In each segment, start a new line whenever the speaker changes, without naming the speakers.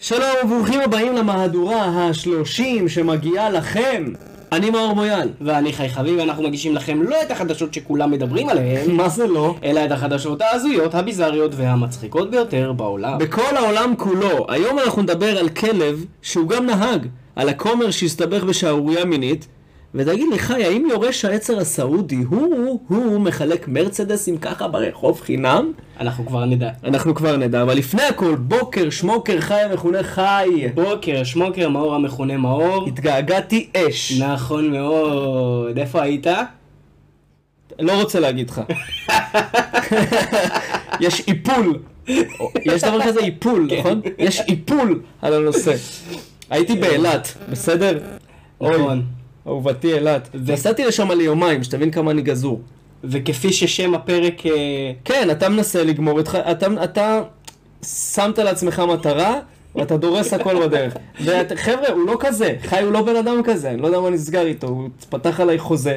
שלום וברוכים הבאים למהדורה השלושים שמגיעה לכם. אני מאור מויאל.
ואני חי חביב, ואנחנו מגישים לכם לא את החדשות שכולם מדברים עליהן,
מה זה לא?
אלא את החדשות ההזויות, הביזריות והמצחיקות ביותר בעולם.
בכל העולם כולו, היום אנחנו נדבר על כלב שהוא גם נהג, על הכומר שהסתבך בשערורייה מינית. ותגיד לי, חי, האם יורש העצר הסעודי הוא, הוא מחלק מרצדסים ככה ברחוב חינם?
אנחנו כבר נדע.
אנחנו כבר נדע, אבל לפני הכל, בוקר שמוקר חי המכונה חי.
בוקר, שמוקר, מאור המכונה מאור.
התגעגעתי אש.
נכון מאוד. איפה היית?
לא רוצה להגיד לך. יש איפול. יש דבר כזה איפול, נכון? יש איפול על הנושא. הייתי באילת, בסדר? אוי,
נכון.
אהובתי אילת. נסעתי לשם ליומיים, שתבין כמה אני גזור.
וכפי ששם הפרק... אה,
כן, אתה מנסה לגמור את ח... אתה, אתה שמת לעצמך מטרה, ואתה דורס הכל בדרך. וחבר'ה, הוא לא כזה. חי הוא לא בן אדם כזה, אני לא יודע מה נסגר איתו. הוא פתח עליי חוזה.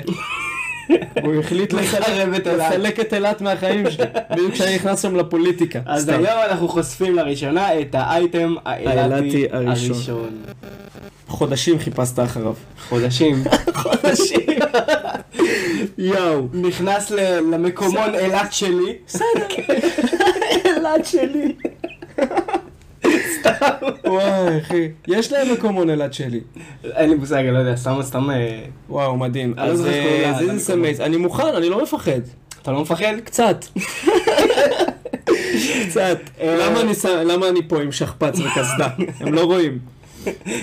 הוא החליט לסלק-
לחרב את אילת.
לסלק את אילת מהחיים שלי, בדיוק כשאני נכנס שם לפוליטיקה.
אז
סתם.
היום אנחנו חושפים לראשונה את האייטם האילתי
האילתי הראשון.
הראשון.
חודשים חיפשת אחריו.
חודשים.
חודשים. יואו.
נכנס ל- למקומון אילת שלי.
בסדר. אילת שלי. וואי אחי, יש להם מקומון אילת שלי.
אין לי מושג, אני לא יודע, סתם, סתם... אה,
וואו מדהים.
אני לא
אז
זוכר איך קוראים לה,
אה, this is
למקומון.
amazing. אני מוכן, אני לא מפחד.
אתה לא מפחד?
קצת. קצת.
אה.
למה אני שם- למה אני פה עם שכפ"ץ וקסדה? הם לא רואים.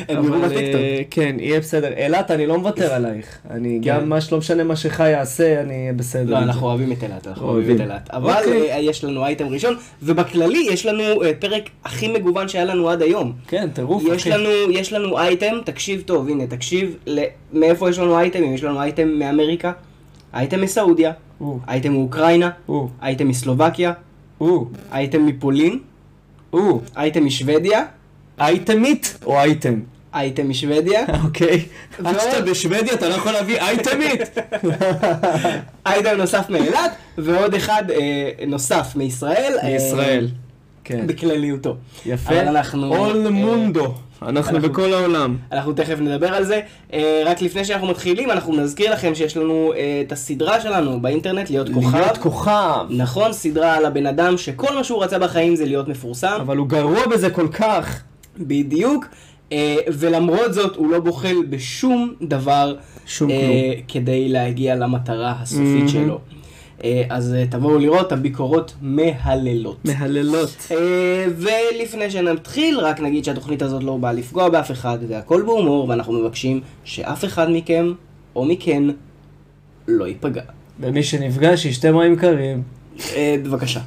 הם יראו
אבל,
בטיקטוק.
אה, כן, יהיה בסדר. אילת, אני לא מוותר עלייך. אני גם, מה שלא משנה מה שחי יעשה, אני בסדר.
כן. לא,
עם זה.
אנחנו אוהבים את אילת, אנחנו
אוהבים.
אוהבים את אילת. אבל
אוקיי.
אה, יש לנו אייטם ראשון, ובכללי יש לנו אה, פרק הכי מגוון שהיה לנו עד היום.
כן, טירוף,
יש
אחי.
לנו, יש לנו אייטם, תקשיב טוב, הנה, תקשיב ל- מאיפה יש לנו אייטמים, יש לנו אייטם מאמריקה, אייטם מסעודיה,
או,
אייטם מאוקראינה,
או,
אייטם מסלובקיה,
או,
אייטם מפולין,
או.
אייטם משוודיה,
אייטמית או אייטם?
אייטם משוודיה,
אוקיי.
ועוד-
עד שאתה בשוודיה אתה לא יכול להביא אייטמית.
אייטם נוסף מאילת, ועוד אחד אה, נוסף מישראל. אה,
מישראל. כן.
בכלליותו.
יפה.
אבל אנחנו...
אול
אה,
מונדו. אנחנו בכל העולם.
אנחנו תכף נדבר על זה. אה, רק לפני שאנחנו מתחילים, אנחנו נזכיר לכם שיש לנו אה, את הסדרה שלנו באינטרנט, להיות כוכב.
להיות כוכב.
נכון, סדרה על הבן אדם שכל מה שהוא רצה בחיים זה להיות מפורסם.
אבל הוא גרוע בזה כל כך.
בדיוק. אה, ולמרות זאת, הוא לא בוחל בשום דבר
שום
אה,
כלום.
כדי להגיע למטרה הסופית
מהמם.
שלו. אה, אז אה, תבואו לראות, הביקורות מהללות.
מהללות.
אה, ולפני שנתחיל, רק נגיד שהתוכנית הזאת לא באה לפגוע באף אחד, והכל בהומור, ואנחנו מבקשים שאף אחד מכם, או מכן, לא ייפגע.
ומי שנפגע שישתה מים קרים.
אה, בבקשה.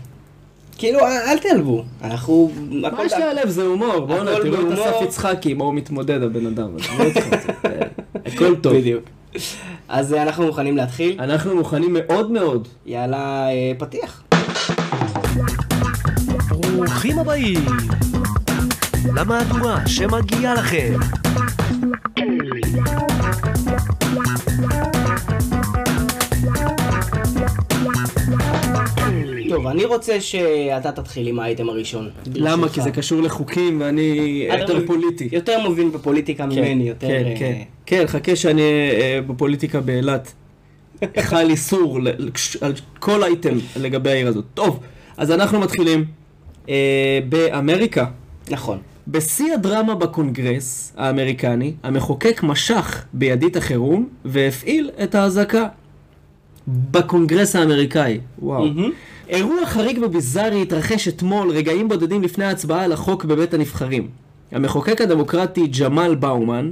כאילו, אל אל תיעלבו, אנחנו...
מה
הכל-
יש לי עליו? זה הומור. בואנה,
הכל
תראו את
בהומור.
אסף יצחקי, מה הוא מתמודד הבן אדם. עזבו אותך, זה- הכל טוב.
בדיוק. אז אה, אנחנו מוכנים להתחיל.
אנחנו מוכנים מאוד מאוד.
יאללה, אה, פתיח.
ברוכים הבאים למהדורה שמגיעה לכם.
טוב, אני רוצה שאתה תתחיל עם האייטם הראשון.
למה? כי זה
ברשותך.
קשור לחוקים ואני
אתה
יותר
מבין-
פוליטי.
יותר מוביל בפוליטיקה ממני, יותר...
כן,
אה,
כן. כן, חכה שאני אה, בפוליטיקה באילת. חל איסור ל- ל- על כל אייטם לגבי העיר הזאת. טוב, אז אנחנו מתחילים אה, באמריקה.
נכון.
בשיא הדרמה בקונגרס האמריקני, המחוקק משך בידית החירום והפעיל את האזעקה. בקונגרס האמריקאי, וואו.
מהמם.
אירוע חריג וביזארי התרחש אתמול, רגעים בודדים לפני ההצבעה על החוק בבית הנבחרים. המחוקק הדמוקרטי ג'מאל באומן,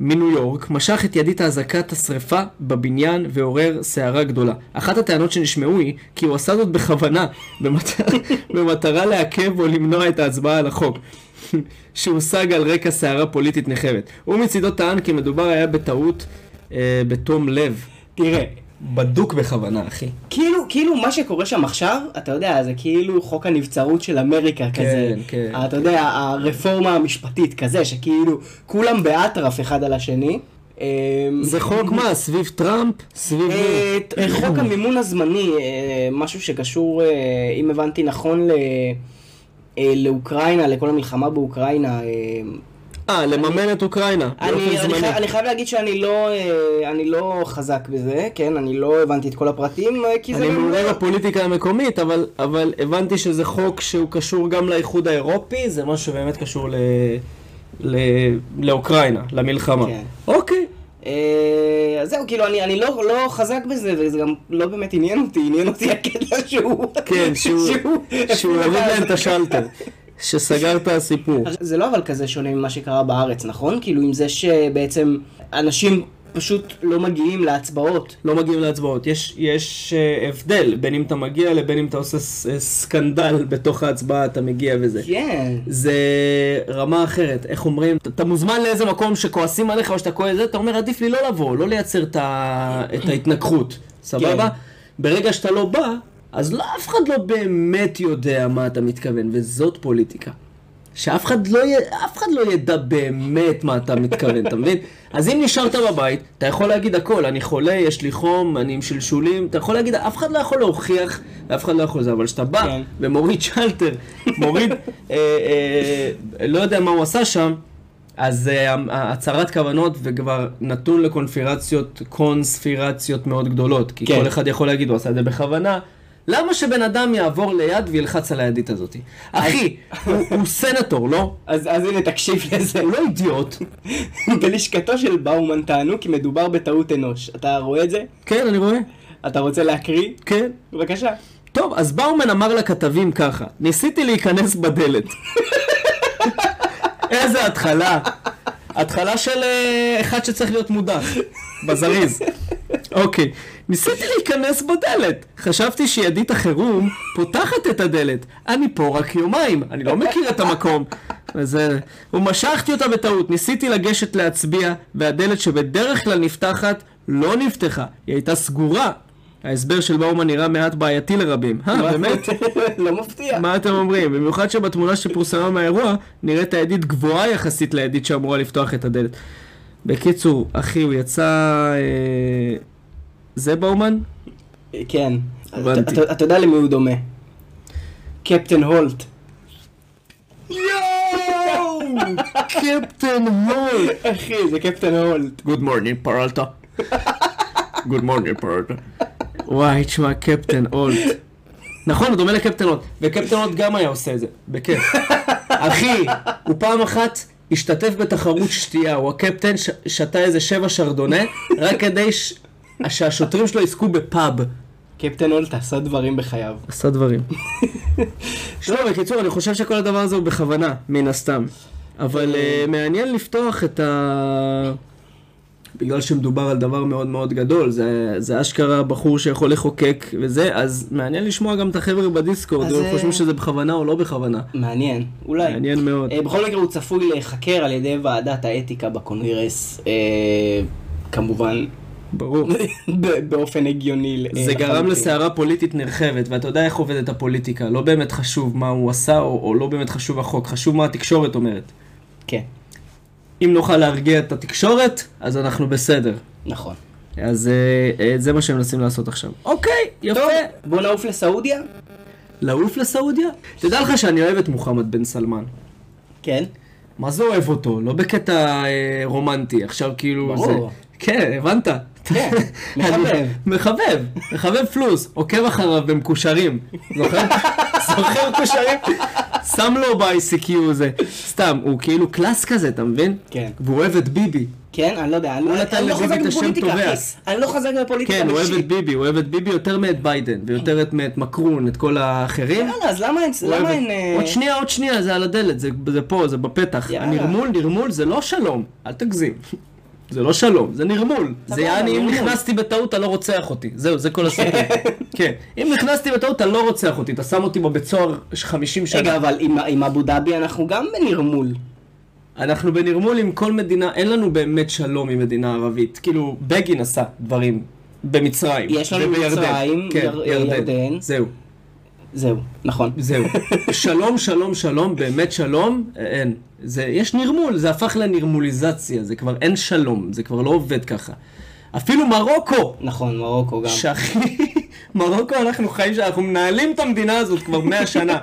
מניו יורק, משך את ידית האזעקת השרפה בבניין ועורר סערה גדולה. אחת הטענות שנשמעו היא כי הוא עשה זאת בכוונה, במטרה, במטרה לעכב או למנוע את ההצבעה על החוק. שהושג על רקע סערה פוליטית נרחבת. הוא מצידו טען כי מדובר היה בטעות אה, בתום לב.
תראה,
בדוק בכוונה, אחי.
כאילו, כאילו מה שקורה שם עכשיו, אתה יודע, זה כאילו חוק הנבצרות של אמריקה כזה.
כן.
אתה יודע, הרפורמה המשפטית כזה, שכאילו כולם באטרף אחד על השני. אה,
זה חוק מה? סביב טראמפ? סביב...
אה, ת- אה, חוק המימון הזמני, אה, משהו שקשור, אה, אם הבנתי נכון, ל... אה, לאוקראינה, לכל המלחמה באוקראינה. אה,
אה, לממן את אוקראינה.
אני,
באופן
אני, חי,
זמני.
אני חייב להגיד שאני לא, אה, אני לא חזק בזה, כן? אני לא הבנתי את כל הפרטים, אה, כי זה...
אני
לא-
מעולה בפוליטיקה המקומית, אבל, אבל הבנתי שזה חוק שהוא קשור גם לאיחוד האירופי, זה משהו שבאמת קשור ל... ל... לאוקראינה, למלחמה.
כן.
אוקיי.
אה, אז זהו, כאילו, אני, אני לא, לא חזק בזה, וזה גם לא באמת עניין אותי, עניין אותי הקטע שהוא...
כן, שהוא, שהוא הוריד להם את השלטר, שסגר את הסיפור.
עכשיו, זה לא אבל כזה שונה ממה שקרה בארץ, נכון? כאילו, עם זה שבעצם אנשים פשוט לא מגיעים להצבעות.
לא מגיעים להצבעות. יש, יש אה, הבדל בין אם אתה מגיע לבין אם אתה עושה ס, אה, סקנדל בתוך ההצבעה, אתה מגיע וזה.
כן.
זה רמה אחרת, איך אומרים, אתה- אתה מוזמן לאיזה מקום שכועסים עליך או שאתה כועס, זה, אתה אומר עדיף לי לא לבוא, לא לייצר את, ה... את ההתנגחות, סבבה? ברגע שאתה לא בא, אז לא, אף אחד לא באמת יודע מה אתה מתכוון, וזאת פוליטיקה. שאף אחד לא, י... אף אחד לא ידע באמת מה אתה מתכוון, אתה מבין? אז אם נשארת בבית, אתה יכול להגיד הכל, אני חולה, יש לי חום, אני עם שלשולים, אתה יכול להגיד, אף אחד לא יכול להוכיח, ואף אחד לא יכול זה, אבל כשאתה בא
כן.
ומוריד שלטר, מוריד, אה, אה, לא יודע מה הוא עשה שם, אז אה, הצהרת כוונות וכבר נתון לקונפירציות, קונספירציות מאוד גדולות, כי
כן.
כל אחד יכול להגיד, הוא עשה את זה בכוונה. למה שבן אדם יעבור ליד וילחץ על הידית הזאת? אחי, הוא, הוא סנטור, לא?
אז, אז הנה, תקשיב לזה.
הוא לא אידיוט.
בלשכתו של באומן טענו כי מדובר בטעות אנוש. אתה רואה את זה?
כן, אני רואה.
אתה רוצה להקריא?
כן.
בבקשה.
טוב, אז באומן אמר לכתבים ככה, ניסיתי להיכנס בדלת. איזה התחלה. התחלה של אה, אחד שצריך להיות מודח, בזריז. אוקיי. ניסיתי להיכנס בדלת. חשבתי שידית החירום פותחת את הדלת. אני פה רק יומיים, אני לא מכיר את המקום. וזה... ומשכתי אותה בטעות. ניסיתי לגשת להצביע, והדלת שבדרך כלל נפתחת, לא נפתחה. היא הייתה סגורה. ההסבר של באומן נראה מעט בעייתי לרבים. אה, באמת?
לא מפתיע.
מה אתם אומרים? במיוחד שבתמונה שפורסמה מהאירוע, נראית הידית גבוהה יחסית לידית שאמורה לפתוח את הדלת. בקיצור, אחי, הוא יצא... אה... זה באומן?
כן.
הבנתי.
אתה- אתה- אתה יודע למי הוא דומה? קפטן הולט.
יואו! קפטן הול!
אחי, זה קפטן הולט.
גוד מורנינג פרלטה. גוד מורנינג פרלטה. וואי, תשמע, קפטן הולט. נכון, הוא דומה לקפטן הולט. וקפטן הולט גם היה עושה את זה, בכיף. אחי, הוא פעם אחת השתתף בתחרות שתייה, הוא הקפטן, ש- שתה איזה שבע שרדונה, רק כדי ש- שהשוטרים שלו יזכו בפאב.
קפטן הולט עשה דברים בחייו.
עשה דברים. לא, בקיצור, אני חושב שכל הדבר הזה הוא בכוונה, מן הסתם. אבל אה, מעניין לפתוח את ה... בגלל שמדובר על דבר מאוד מאוד גדול, זה, זה אשכרה בחור שיכול לחוקק וזה, אז מעניין לשמוע גם את החבר'ה בדיסקורד,
אז,
אם הם
אה,
חושבים שזה בכוונה או לא בכוונה.
מעניין, אולי.
מעניין מאוד.
אה, בכל מקרה הוא צפוי להיחקר על ידי ועדת האתיקה בקונגרס, אה, כמובן,
ברור.
ב- באופן הגיוני. אה,
זה גרם
לחלוטין.
לסערה פוליטית נרחבת, ואתה יודע איך עובדת הפוליטיקה, לא באמת חשוב מה הוא עשה או, או לא באמת חשוב החוק, חשוב מה התקשורת אומרת.
כן,
אם נוכל להרגיע את התקשורת, אז אנחנו בסדר.
נכון.
אז אה, אה, זה מה שהם מנסים לעשות עכשיו. אוקיי, יפה.
טוב, בוא נעוף לסעודיה?
לעוף לסעודיה? תדע לך שאני אוהב את מוחמד בן סלמן.
כן.
מה זה אוהב אותו? לא בקטע אה, רומנטי, עכשיו כאילו
ברור.
זה... כן, הבנת.
כן,
אני-
מחבב.
מחבב, מחבב פלוס, עוקב אחריו במקושרים. זוכר? זוכר מקושרים? שם לו ב-ICQ זה. סתם, הוא כאילו קלאס כזה, אתה מבין?
כן.
והוא אוהב את ביבי.
כן, אני לא יודע, אני לא-
נתן
אני לא
לביבי
חזק
את השם
בפוליטיקה, אחי.
טובע.
אני לא חזק בפוליטיקה.
כן, הוא אוהב
אישית.
את ביבי, הוא אוהב את ביבי יותר מאת ביידן, ויותר את- מאת מקרון, את כל האחרים.
יאללה, אז למה אין...
הוא
למה
אוהב את-
אין... אה,
עוד שנייה, עוד שנייה, זה על הדלת, זה זה פה, זה בפתח.
יאללה.
הנרמול, נרמול, זה לא שלום, אל תגזים. זה לא שלום, זה נרמול. זה יעני, אם
לא נרמול.
נכנסתי בטעות, אתה לא רוצח אותי. זהו, זה כל הסיפור. כן. אם נכנסתי בטעות, אתה לא רוצח אותי, אתה שם אותי בבית סוהר 50 שנה.
רגע, אבל עם- עם אבו דאבי אנחנו גם בנרמול.
אנחנו בנרמול עם כל מדינה, אין לנו באמת שלום עם מדינה ערבית. כאילו, בגין עשה דברים במצרים.
יש לנו
ובירדן.
מצרים,
כן,
יר- ירדן.
זהו,
זהו, נכון.
זהו. שלום, שלום, שלום, באמת שלום, אין. זה, יש נרמול, זה הפך לנרמוליזציה, זה כבר אין שלום, זה כבר לא עובד ככה. אפילו מרוקו,
נכון, מרוקו גם.
שהכי מרוקו אנחנו חיים, שאנחנו מנהלים את המדינה הזאת כבר 100 שנה.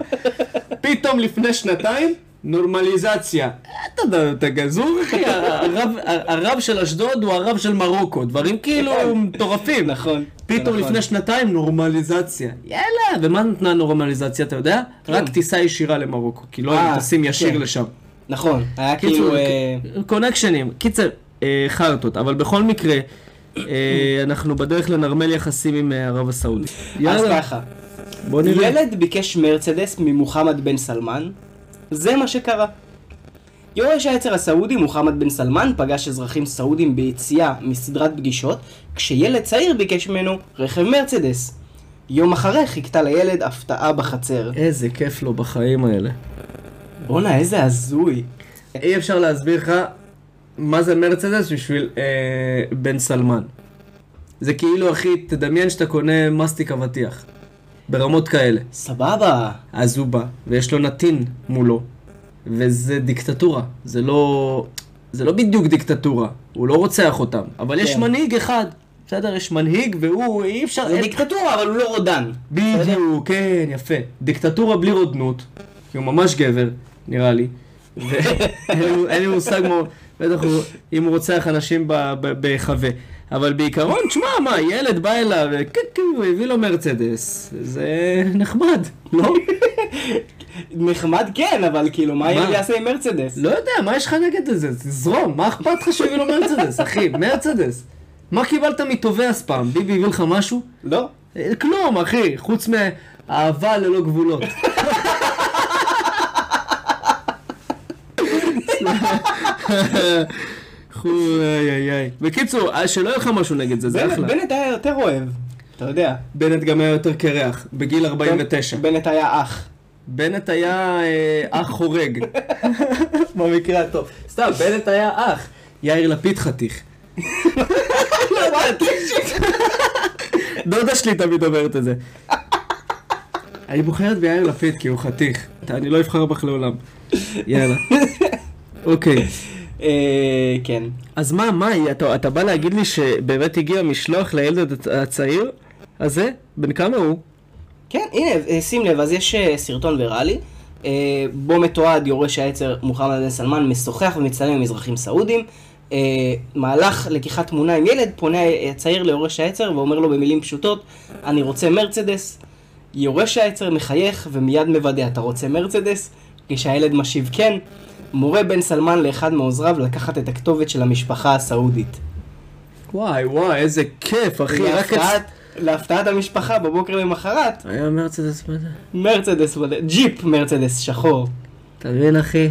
פתאום לפני שנתיים, נורמליזציה. אתה יודע, אתה גזור אחי, הרב- הרב של אשדוד הוא הרב של מרוקו, דברים כאילו מטורפים.
נכון.
פתאום
נכון.
לפני שנתיים נורמליזציה. יאללה, ומה נתנה נורמליזציה, אתה יודע? רק טיסה ישירה למרוקו, כי לא
כן. אה,
היו טסים ישיר
כן.
לשם.
נכון, היה
קיצור,
כאילו... אה,
קונקשנים, קיצר, אה, חרטות, אבל בכל מקרה, אה, אנחנו בדרך לנרמל יחסים עם אה, ערב הסעודי.
אז
יאללה,
ככה.
בוא נראה.
ילד ביקש מרצדס ממוחמד בן סלמן, זה מה שקרה. יורש העצר הסעודי מוחמד בן סלמן פגש אזרחים סעודים ביציאה מסדרת פגישות, כשילד צעיר ביקש ממנו רכב מרצדס. יום אחרי חיכתה לילד הפתעה בחצר.
איזה כיף לו בחיים האלה.
בואנה, איזה הזוי.
אי אפשר להסביר לך מה זה מרצדס בשביל אה, בן סלמן. זה כאילו, אחי, תדמיין שאתה קונה מסטיק אבטיח. ברמות כאלה.
סבבה.
אז הוא בא, ויש לו נתין מולו, וזה דיקטטורה. זה לא... זה לא בדיוק דיקטטורה, הוא לא רוצח אותם. אבל יש
כן.
מנהיג אחד, בסדר? יש מנהיג והוא, אי אפשר...
זה
אין-
דיקטטורה, אבל הוא לא רודן.
בדיוק, כן, יפה. דיקטטורה בלי רודנות, כי הוא ממש גבר, נראה לי. ואין לי- אין לי מושג מה, הוא- בטח הוא, אם הוא רוצח אנשים ב- ב- בחווה. אבל בעיקרון, תשמע, מה, ילד בא אליו, כן, כן, הוא הביא לו מרצדס. זה נחמד, לא?
נחמד כן, אבל כאילו, מה ילד יעשה עם מרצדס?
לא יודע, מה יש לך נגד זה? תזרום, מה אכפת לך שהוא הביא לו מרצדס, אחי? מרצדס. מה קיבלת מטובעס פעם? ביבי הביא לך משהו?
לא.
אה, כלום, אחי, חוץ מאהבה ללא גבולות. חו- איי איי איי. בקיצור, אה, שלא יהיה לך משהו נגד זה, זה
בנט-
אחלה.
בנט היה יותר אוהב, אתה יודע.
בנט גם היה יותר קרח, בגיל 49.
בנט היה אח.
בנט היה אה, אח חורג. במקרה הטוב. סתם, בנט היה אח. יאיר לפיד חתיך. דודה שלי תמיד אומרת את זה. אני בוחרת ביאיר לפיד כי הוא חתיך. אני לא אבחר בך לעולם. יאללה. אוקיי.
אה, כן.
אז מה, מה, אתה, אתה בא להגיד לי שבאמת הגיע משלוח לילד הצ- הצעיר הזה? בן כמה הוא?
כן, הנה, אה, שים לב, אז יש אה, סרטון ויראלי, אה, בו מתועד יורש העצר מוחמד בן סלמן משוחח ומצטלם עם אזרחים סעודים. אה, מהלך לקיחת תמונה עם ילד, פונה הצעיר ליורש העצר ואומר לו במילים פשוטות, אני רוצה מרצדס. יורש העצר מחייך ומיד מוודא, אתה רוצה מרצדס? כשהילד משיב כן, מורה בן סלמן לאחד מעוזריו לקחת את הכתובת של המשפחה הסעודית.
וואי, וואי, איזה כיף, אחי. רק... הצ-
להפתעת- להפתעת המשפחה בבוקר למחרת,
היה מרצדס בזה.
מרצדס, ג'יפ מרצדס שחור.
תבין אחי,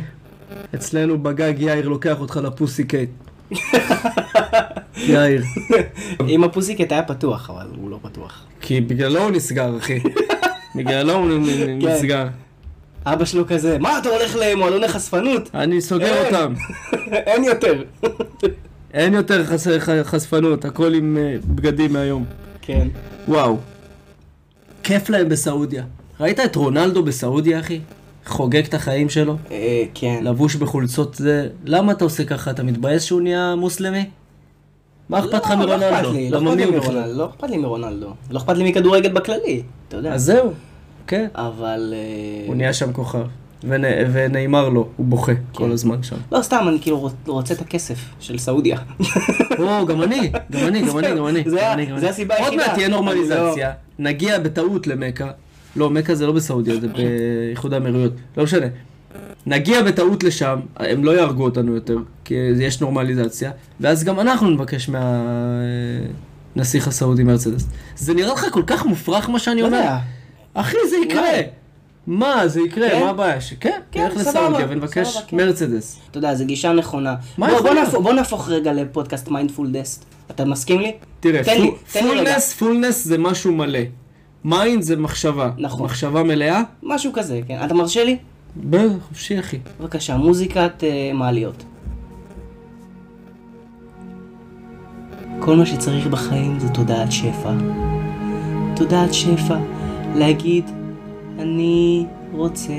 אצלנו בגג יאיר לוקח אותך לפוסי קייט. יאיר.
אם הפוסיקט היה פתוח, אבל הוא לא פתוח.
כי בגללו הוא נסגר אחי. בגללו הוא נ- נ-
כן.
נסגר.
אבא שלו כזה, מה אתה הולך למועלוני חשפנות?
אני סוגר
אין.
אותם.
אין יותר.
אין יותר חס- ח- חשפנות, הכל עם אה, בגדים מהיום.
כן.
וואו. כיף להם בסעודיה. ראית את רונלדו בסעודיה אחי? חוגג את החיים שלו?
אה, כן.
לבוש בחולצות זה... למה אתה עושה ככה? אתה מתבאס שהוא נהיה מוסלמי? מה אכפת לך
לא, לא
מרונלדו?
אכפת לי, לא
למה
אכפת
מי
לי
הוא בכלל?
מרונלדו, לא אכפת לי מרונלדו. לא אכפת לי מכדורגל בכללי, אתה יודע.
אז זהו, כן.
אבל... אה,
הוא נהיה שם כוכב. ונ... ונאמר לו, הוא בוכה כל הזמן שם.
לא, סתם, אני כאילו רוצ- רוצה את הכסף של סעודיה.
או, לא, גם אני, גם אני, גם אני, גם אני.
זה ה-
גם אני, גם
זה
אני.
הסיבה
עוד
היחידה.
מעט תהיה נורמליזציה,
אני לא-
נגיע בטעות למכה. לא, מכה זה לא בסעודיה, זה באיחוד האמירויות. לא משנה. נגיע בטעות לשם, הם לא יהרגו אותנו יותר, כי יש נורמליזציה, ואז גם אנחנו נבקש מהנסיך הסעודי מרצדס. זה נראה לך כל כך מופרך מה שאני
לא
אומר?
יודע.
אחי, זה יקרה.
אולי.
מה, זה יקרה,
כן?
מה הבעיה? שכן,
כן,
נלך
סבבה,
לסעודיה ונבקש
סבבה, כן.
מרצדס.
אתה יודע, זו גישה נכונה.
מה
בוא-
יכול
בוא
להיות?
נהפוך- בוא נהפוך רגע לפודקאסט מיינדפול דסט. אתה מסכים לי?
תראה,
תן לי-
פו-
תן לי רגע.
פולנס, פולנס זה משהו מלא. מיינד זה מחשבה.
נכון.
מחשבה מלאה?
משהו כזה, כן. אתה מרשה לי?
ב- חופשי, אחי.
בבקשה, מוזיקת אה, מעליות. כל מה שצריך בחיים זה תודעת שפע. תודעת שפע, להגיד, אני רוצה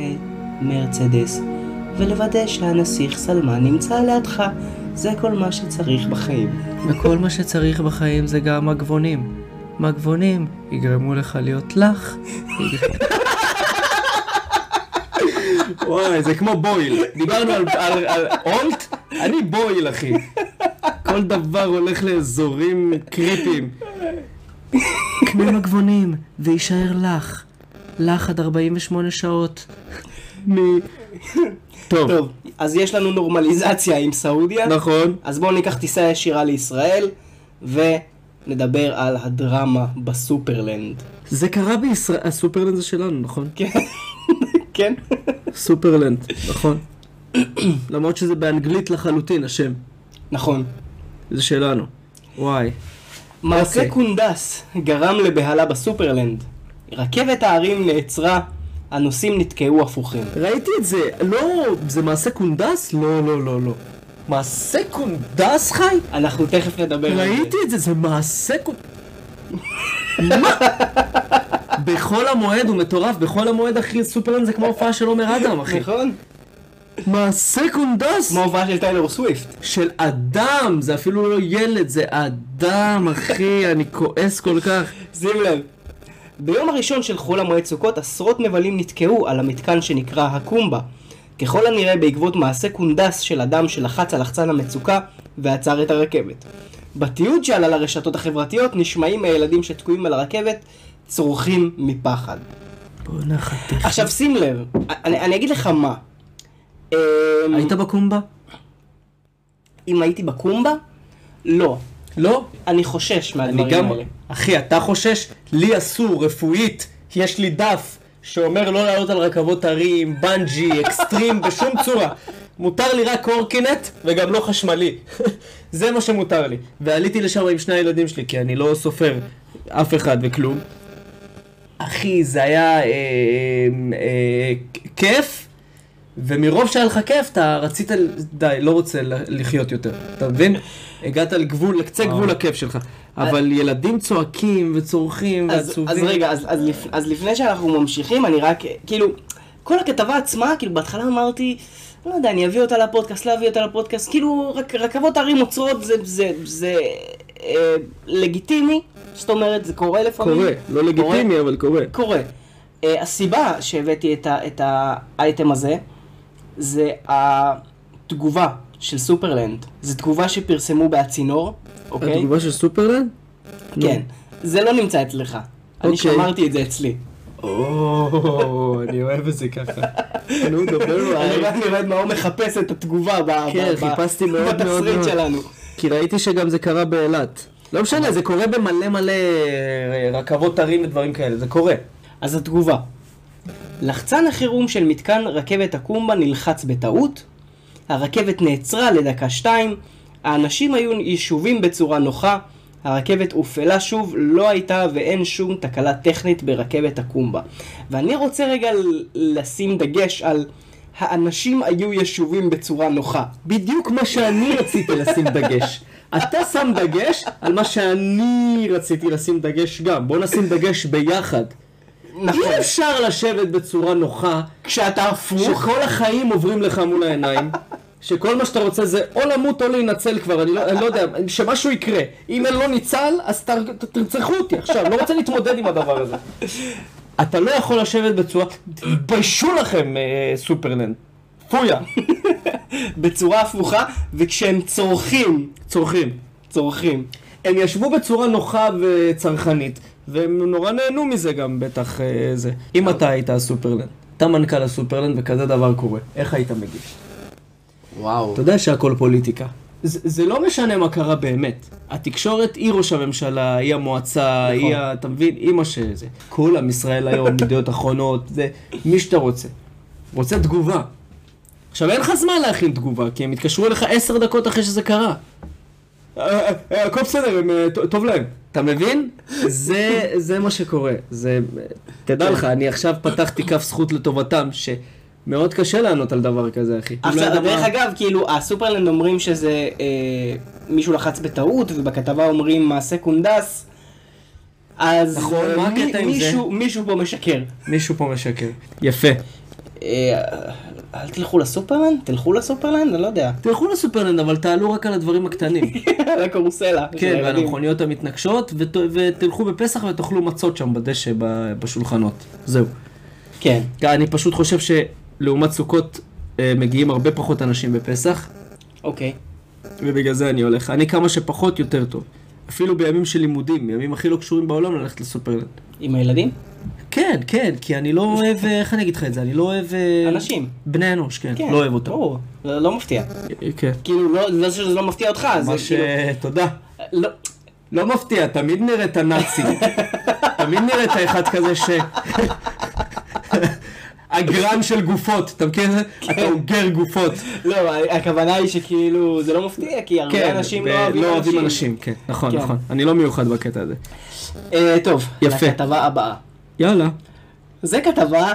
מרצדס, ולוודא שהנסיך סלמן נמצא לידך, זה כל מה שצריך בחיים.
וכל מה שצריך בחיים זה גם מגבונים. מגבונים יגרמו לך להיות לך. וואי, זה כמו בויל. דיברנו על- על על אולט, אני בויל, אחי. כל דבר הולך לאזורים קריפיים. קנה מגבונים ויישאר לך. לך עד 48 שעות. מ- טוב,
טוב, אז יש לנו נורמליזציה עם סעודיה.
נכון.
אז בואו ניקח טיסה ישירה לישראל, ונדבר על הדרמה בסופרלנד.
זה קרה בישראל, הסופרלנד זה שלנו, נכון?
כן?
סופרלנד, נכון. למרות שזה באנגלית לחלוטין, השם.
נכון.
זה שלנו. וואי.
מעשה
אוקיי.
קונדס גרם לבהלה בסופרלנד. רכבת ההרים נעצרה, הנוסעים נתקעו הפוכים.
ראיתי את זה, לא, זה מעשה קונדס? לא, לא, לא, לא. מעשה קונדס, חי?
אנחנו תכף נדבר על זה.
ראיתי את זה, זה מעשה קונדס. מה? בחול המועד הוא מטורף, בחול המועד אחי סופרלנד זה כמו הופעה של עומר אדם אחי.
נכון?
מעשה קונדס!
כמו הופעה של טיילור סוויפט.
של אדם, זה אפילו לא ילד, זה אדם אחי, אני כועס כל כך.
שים לב. ביום הראשון של חול המועד סוכות עשרות מבלים נתקעו על המתקן שנקרא הקומבה. ככל הנראה בעקבות מעשה קונדס של אדם שלחץ על לחצן המצוקה ועצר את הרכבת. בתיעוד שעלה לרשתות החברתיות נשמעים מהילדים שתקועים על הרכבת צורכים מפחד.
בואנה חתיך.
עכשיו שים לב, אני, אני אגיד לך מה. אמ,
היית בקומבה?
אם הייתי בקומבה? לא.
לא.
אני חושש
אני
מהדברים
גם...
האלה.
אחי, אתה חושש? לי אסור, רפואית. יש לי דף שאומר לא לעלות על רכבות הרים, בנג'י, אקסטרים, בשום צורה. מותר לי רק קורקינט וגם לא חשמלי. זה מה שמותר לי. ועליתי לשם עם שני הילדים שלי, כי אני לא סופר אף אחד וכלום. אחי, זה היה אה, אה, כיף, ומרוב שהיה לך כיף, אתה רצית, ל- די, לא רוצה ל- לחיות יותר, אתה מבין? הגעת לגבול,
אה.
לקצה גבול הכיף שלך. אבל ילדים צועקים וצורכים
אז,
ועצובים.
אז רגע, אז, אז, לפ, אז לפני שאנחנו ממשיכים, אני רק, כאילו, כל הכתבה עצמה, כאילו, בהתחלה אמרתי, לא יודע, אני אביא אותה לפודקאסט, לא אביא אותה לפודקאסט, כאילו, רק, רכבות ערים עוצרות, זה, זה, זה אה, לגיטימי, זאת אומרת, זה קורה לפעמים.
קורה, לא לגיטימי, אבל קורה.
קורה. אה, הסיבה שהבאתי את, ה, את האייטם הזה, זה התגובה של סופרלנד. זו תגובה שפרסמו בהצינור, אוקיי?
התגובה של סופרלנד?
כן. זה לא נמצא אצלך. אני
אוקיי.
שמרתי את זה אצלי.
או, אני אוהב את זה ככה. נו, דבר
אני
עליי.
רק נראה מאור מחפש את התגובה ב-
לא, כן,
ב- ב-
חיפשתי מאוד מאוד
בתסריט
מאוד.
שלנו.
כי ראיתי שגם זה קרה באילת. לא משנה, זה קורה במלא מלא אה, רכבות הרים ודברים כאלה, זה קורה.
אז התגובה. לחצן החירום של מתקן רכבת הקומבה נלחץ בטעות, הרכבת נעצרה לדקה שתיים, האנשים היו יישובים בצורה נוחה, הרכבת הופעלה שוב, לא הייתה ואין שום תקלה טכנית ברכבת הקומבה. ואני רוצה רגע ל- לשים דגש על האנשים היו ישובים בצורה נוחה.
בדיוק מה שאני רציתי לשים דגש. אתה שם דגש על מה שאני רציתי לשים דגש גם. בוא נשים דגש ביחד.
נכון.
אי אפשר לשבת בצורה נוחה,
כשאתה הפוך,
שכל החיים עוברים לך מול העיניים. שכל מה שאתה רוצה זה או למות או להינצל כבר, אני לא, אני לא יודע, שמשהו יקרה. אם אני לא ניצל, אז ת, ת, תרצחו אותי עכשיו, לא רוצה להתמודד עם הדבר הזה. אתה לא יכול לשבת בצורה... תתביישו לכם, אה, סופרלנד. פויה.
בצורה הפוכה, וכשהם צורכים,
צורכים.
צורכים.
הם ישבו בצורה נוחה וצרכנית, והם נורא נהנו מזה גם בטח אה, זה. אם אתה היית הסופרלנד, אתה מנכ"ל הסופרלנד וכזה דבר קורה, איך היית מגיש?
וואו.
אתה יודע שהכל פוליטיקה. זה, זה לא משנה מה קרה באמת. התקשורת היא ראש הממשלה, היא המועצה, נכון. היא, ה- אתה מבין, היא מה שזה. כולם, ישראל היום, ידיעות אחרונות, זה מי שאתה רוצה. רוצה תגובה. עכשיו אין לך זמן להכין תגובה, כי הם התקשרו אליך עשר דקות אחרי שזה קרה. אה, אה, אה, הכל בסדר, הם, אה, ט- טוב להם. אתה מבין? זה, זה מה שקורה. זה, תדע לך, אני עכשיו פתחתי כף זכות לטובתם, שמאוד קשה לענות על דבר כזה, אחי. לא יודע
עכשיו,
מה-
דרך אגב, כאילו, הסופרלנד אומרים שזה אה, מישהו לחץ בטעות, ובכתבה אומרים מעשה קונדס, אז
נכון,
אה,
מה
מי-
הקטע עם זה?
מישהו- מישהו פה משקר.
מישהו פה משקר. יפה.
אה, אל תלכו לסופרלנד? תלכו לסופרלנד? אני לא יודע.
תלכו לסופרלנד, אבל תעלו רק על הדברים הקטנים.
על הקרוסלה. של
כן, ועל
הילדים.
המכוניות המתנגשות, ות, ותלכו בפסח ותאכלו מצות שם בדשא, ב- בשולחנות. זהו.
כן.
אני פשוט חושב שלעומת סוכות אה, מגיעים הרבה פחות אנשים בפסח,
אוקיי.
ובגלל זה אני הולך. אני כמה שפחות, יותר טוב. אפילו בימים של לימודים, ימים הכי לא קשורים בעולם, ללכת לסופרלנד.
עם הילדים?
כן, כן, כי אני לא אוהב, אה, איך אני אגיד לך את זה? אני לא אוהב... אה,
אנשים.
בני אנוש, כן.
כן.
לא אוהב אותם.
ברור. לא לא מפתיע.
כן.
כאילו, לא לא שזה לא מפתיע אותך, זה
מה ש...
כאילו...
אה, תודה.
לא.
לא מפתיע, תמיד נראית הנאצי. תמיד נראית האחד כזה ש... הגרן של גופות, אתה מכיר את זה? אתה אוגר גופות.
לא, הכוונה היא שכאילו, זה לא מפתיע, כי הרבה אנשים לא
ו-
אוהבים
לא אוהבים אנשים, כן, נכון,
כן.
נכון. אני לא מיוחד בקטע הזה.
אה, טוב,
יפה.
לכתבה הבאה.
יאללה.
זה כתבה, א-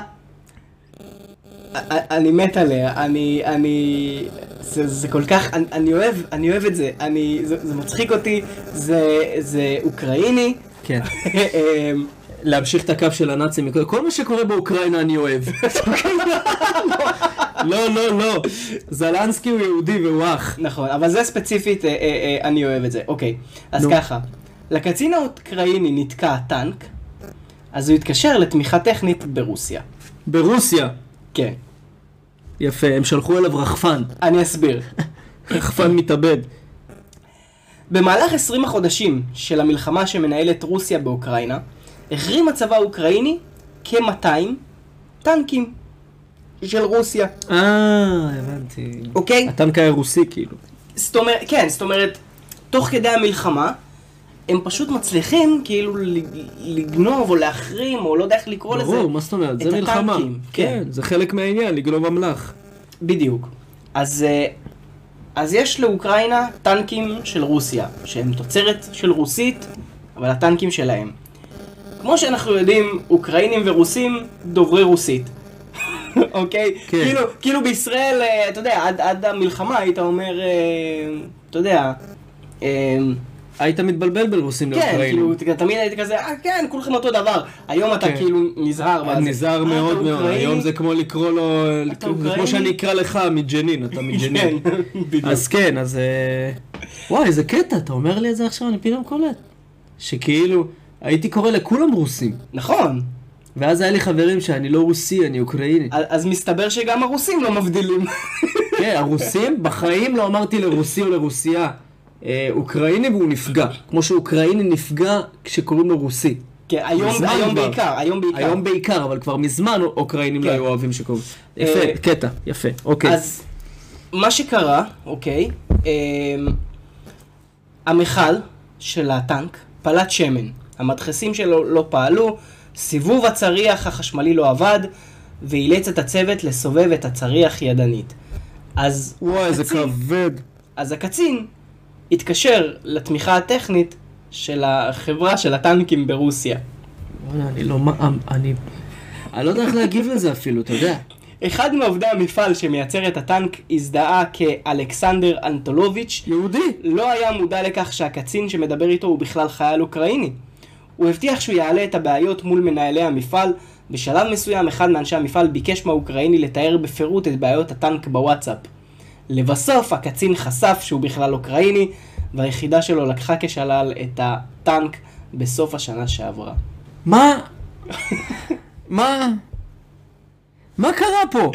א- אני מת עליה, אני, אני, זה, זה כל כך, אני, אני אוהב, אני אוהב את זה, אני, זה, זה מצחיק אותי, זה, זה אוקראיני,
כן.
אמ,
להמשיך את הקו של הנאצים, מכל- כל מה שקורה באוקראינה אני אוהב. לא, לא, לא. זלנסקי הוא יהודי והוא אח.
נכון, אבל זה ספציפית, אה, אה, אה, אני אוהב את זה, אוקיי, אז
נו.
ככה, לקצין האוקראיני נתקע הטנק, אז הוא התקשר לתמיכה טכנית ברוסיה,
ברוסיה.
כן,
יפה, הם שלחו אליו רחפן.
אני אסביר.
רחפן מתאבד.
במהלך 20 החודשים של המלחמה שמנהלת רוסיה באוקראינה, החרים הצבא האוקראיני כ-200 טנקים של רוסיה,
אה, הבנתי.
אוקיי?
הטנק היה רוסי כאילו.
זאת אומרת, כן, זאת אומרת, תוך כדי המלחמה, הם פשוט מצליחים כאילו ל- לגנוב או להחרים, או לא יודע איך לקרוא לזה.
ברור, מה זאת אומרת? זה
את
מלחמה.
הטנקים,
כן, זה חלק מהעניין, לגנוב אמל"ח.
בדיוק. אז, אה, אז יש לאוקראינה טנקים של רוסיה, שהם תוצרת של רוסית, אבל הטנקים שלהם. כמו שאנחנו יודעים, אוקראינים ורוסים דוברי רוסית. אוקיי?
כן.
כאילו, כאילו בישראל, אה, אתה יודע, עד, עד המלחמה היית אומר, אה, אתה יודע, אה,
היית מתבלבל בין רוסים
כן,
לאוקראינים.
כאילו, ת- תמיד היית כזה, אה, כן, כולכם אותו דבר. היום אתה
כן.
כאילו נזהר. מה זה.
אני נזהר
אה, אתה
מאוד מאוד,
אוקראיני?
היום זה כמו לקרוא לו,
אתה
זה
אוקראיני?
כמו שאני אקרא לך מג'נין, אתה מג'נין.
כן, בדיוק.
אז כן, אז... אה, וואי, איזה קטע, אתה אומר לי את זה עכשיו, אני פתאום קולט. שכאילו, הייתי קורא לכולם רוסים.
נכון.
ואז היה לי חברים שאני לא רוסי, אני אוקראיני.
אז אז מסתבר שגם הרוסים לא מבדילים.
כן, הרוסים, בחיים לא אמרתי לרוסי או לרוסייה. אה, אוקראיני והוא נפגע. כמו שאוקראיני נפגע כשקוראים לו רוסי.
כן, היום,
מזמן
היום
כבר.
בעיקר, היום בעיקר.
היום בעיקר, אבל כבר מזמן אוקראינים לא
כן.
היו אוהבים שקוראים.
אה,
יפה, קטע, יפה, אוקיי.
אז
כן.
מה שקרה, אוקיי, אמ, המכל של הטנק פלט שמן. המדחסים שלו לא פעלו, סיבוב הצריח החשמלי לא עבד, ואילץ את הצוות לסובב את הצריח ידנית. אז
וואי, זה
הקצין-
כבד.
אז הקצין התקשר לתמיכה הטכנית של החברה של הטנקים ברוסיה.
וואלה, אני לא מאמין, אני... אני לא יודע איך להגיב לזה אפילו, אתה יודע.
אחד מעובדי המפעל שמייצר את הטנק הזדהה כאלכסנדר אנטולוביץ',
יהודי.
לא היה מודע לכך שהקצין שמדבר איתו הוא בכלל חייל אוקראיני. הוא הבטיח שהוא יעלה את הבעיות מול מנהלי המפעל. בשלב מסוים אחד מאנשי המפעל ביקש מהאוקראיני לתאר בפירוט את בעיות הטנק בוואטסאפ. לבסוף הקצין חשף שהוא בכלל אוקראיני, והיחידה שלו לקחה כשלל את הטנק בסוף השנה שעברה.
מה? מה? מה קרה פה?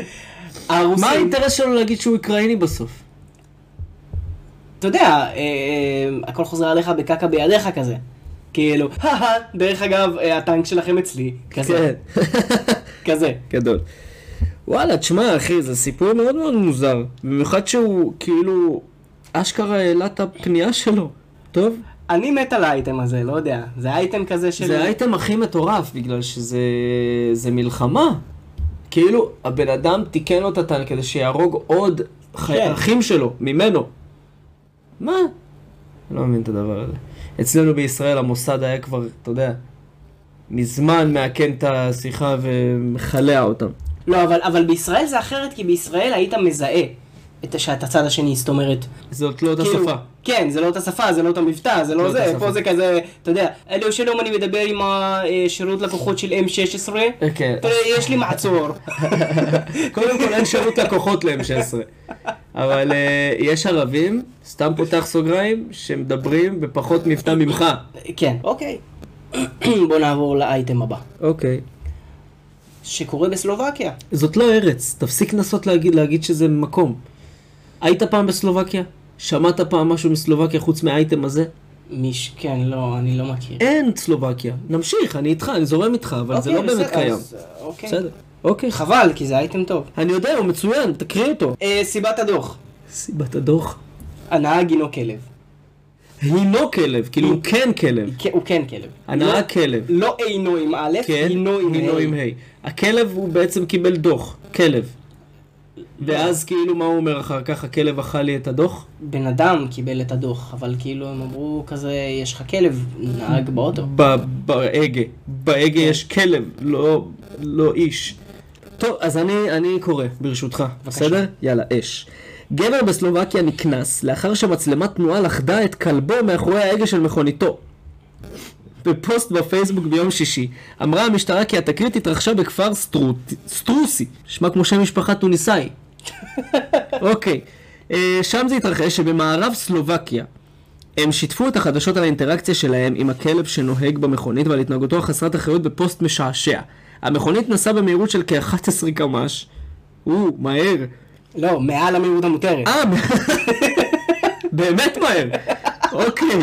מה
הרוסים,
האינטרס שלו להגיד שהוא אוקראיני בסוף?
אתה יודע, אה, אה, הכל חוזר עליך בקקה בידיך כזה. כאילו, הא דרך אגב, אה, הטנק שלכם אצלי,
כן.
כזה, כזה.
גדול. וואלה, תשמע, אחי, זה סיפור מאוד מאוד מוזר. במיוחד שהוא, כאילו, אשכרה העלה את הפנייה שלו. טוב?
אני מת על האייטם הזה, לא יודע. זה אייטם כזה של...
זה האייטם הכי מטורף, בגלל שזה זה מלחמה. כאילו, הבן אדם תיקן לו את הטנק כדי שיהרוג עוד חי-
כן.
אחים שלו, ממנו. מה? אני לא מבין את הדבר הזה. אצלנו בישראל המוסד היה כבר, אתה יודע, מזמן מאכן את השיחה ומכלע אותם.
לא, אבל, אבל בישראל זה אחרת, כי בישראל היית מזהה. את- שאת הצד השני, זאת אומרת,
זאת לא אותה שפה.
כן, זה לא אותה שפה, זה לא אותו מבטא, זה לא,
לא אותה
זה,
שפה.
פה זה כזה, אתה יודע, אלו שלום אני מדבר עם השירות לקוחות של M16,
כן.
תראה, יש לי מעצור.
קודם כל אין שירות לקוחות ל-M16. אבל אה, יש ערבים, סתם פותח סוגריים, שמדברים בפחות מבטא ממך.
כן, אוקיי. בוא נעבור לאייטם הבא,
אוקיי.
שקורה בסלובקיה.
זאת לא ארץ, תפסיק לנסות להגיד, להגיד שזה מקום. היית פעם בסלובקיה? שמעת פעם משהו מסלובקיה חוץ מהאייטם הזה?
מיש... כן, לא, אני לא מכיר.
אין סלובקיה. נמשיך, אני איתך, אני זורם איתך, אבל זה
אוקיי,
לא באמת
בסדר,
קיים.
אז, אה, אוקיי.
בסדר. אוקיי.
חבל, כי זה אייטם טוב.
אני יודע, הוא מצוין, תקריא אותו.
אה, סיבת הדוח,
סיבת הדוח.
הנהג הינו כלב.
הינו כלב, כאילו הוא כן כלב.
כן, הוא כן כלב.
הנהג
לא-
כלב.
לא אינו עם א',
כן,
הינו עם
הינו עם
ה'.
ה'. הכלב הוא בעצם קיבל דוח, כלב. ואז כאילו מה הוא אומר אחר כך, הכלב אכל לי את הדוח?
בן אדם קיבל את הדוח, אבל כאילו הם אמרו כזה, יש לך כלב, נהג באוטו.
ב- בהגה. בהגה יש כלב, לא, לא איש. טוב, אז אני, אני קורא, ברשותך. בסדר? יאללה, אש. גבר בסלובקיה נקנס לאחר שמצלמת תנועה לכדה את כלבו מאחורי ההגה של מכוניתו. בפוסט בפייסבוק ביום שישי, אמרה המשטרה כי התקרית התרחשה בכפר סטרוט... סטרוסי, נשמע כמו שם משפחה טוניסאי. אוקיי, אה, שם זה התרחש שבמערב סלובקיה. הם שיתפו את החדשות על האינטראקציה שלהם עם הכלב שנוהג במכונית ועל התנהגותו החסרת אחריות בפוסט משעשע. המכונית נסעה במהירות של כ-11 קמ"ש. או, מהר.
לא, מעל המהירות המותרת.
אה, מה- באמת מהר. אוקיי.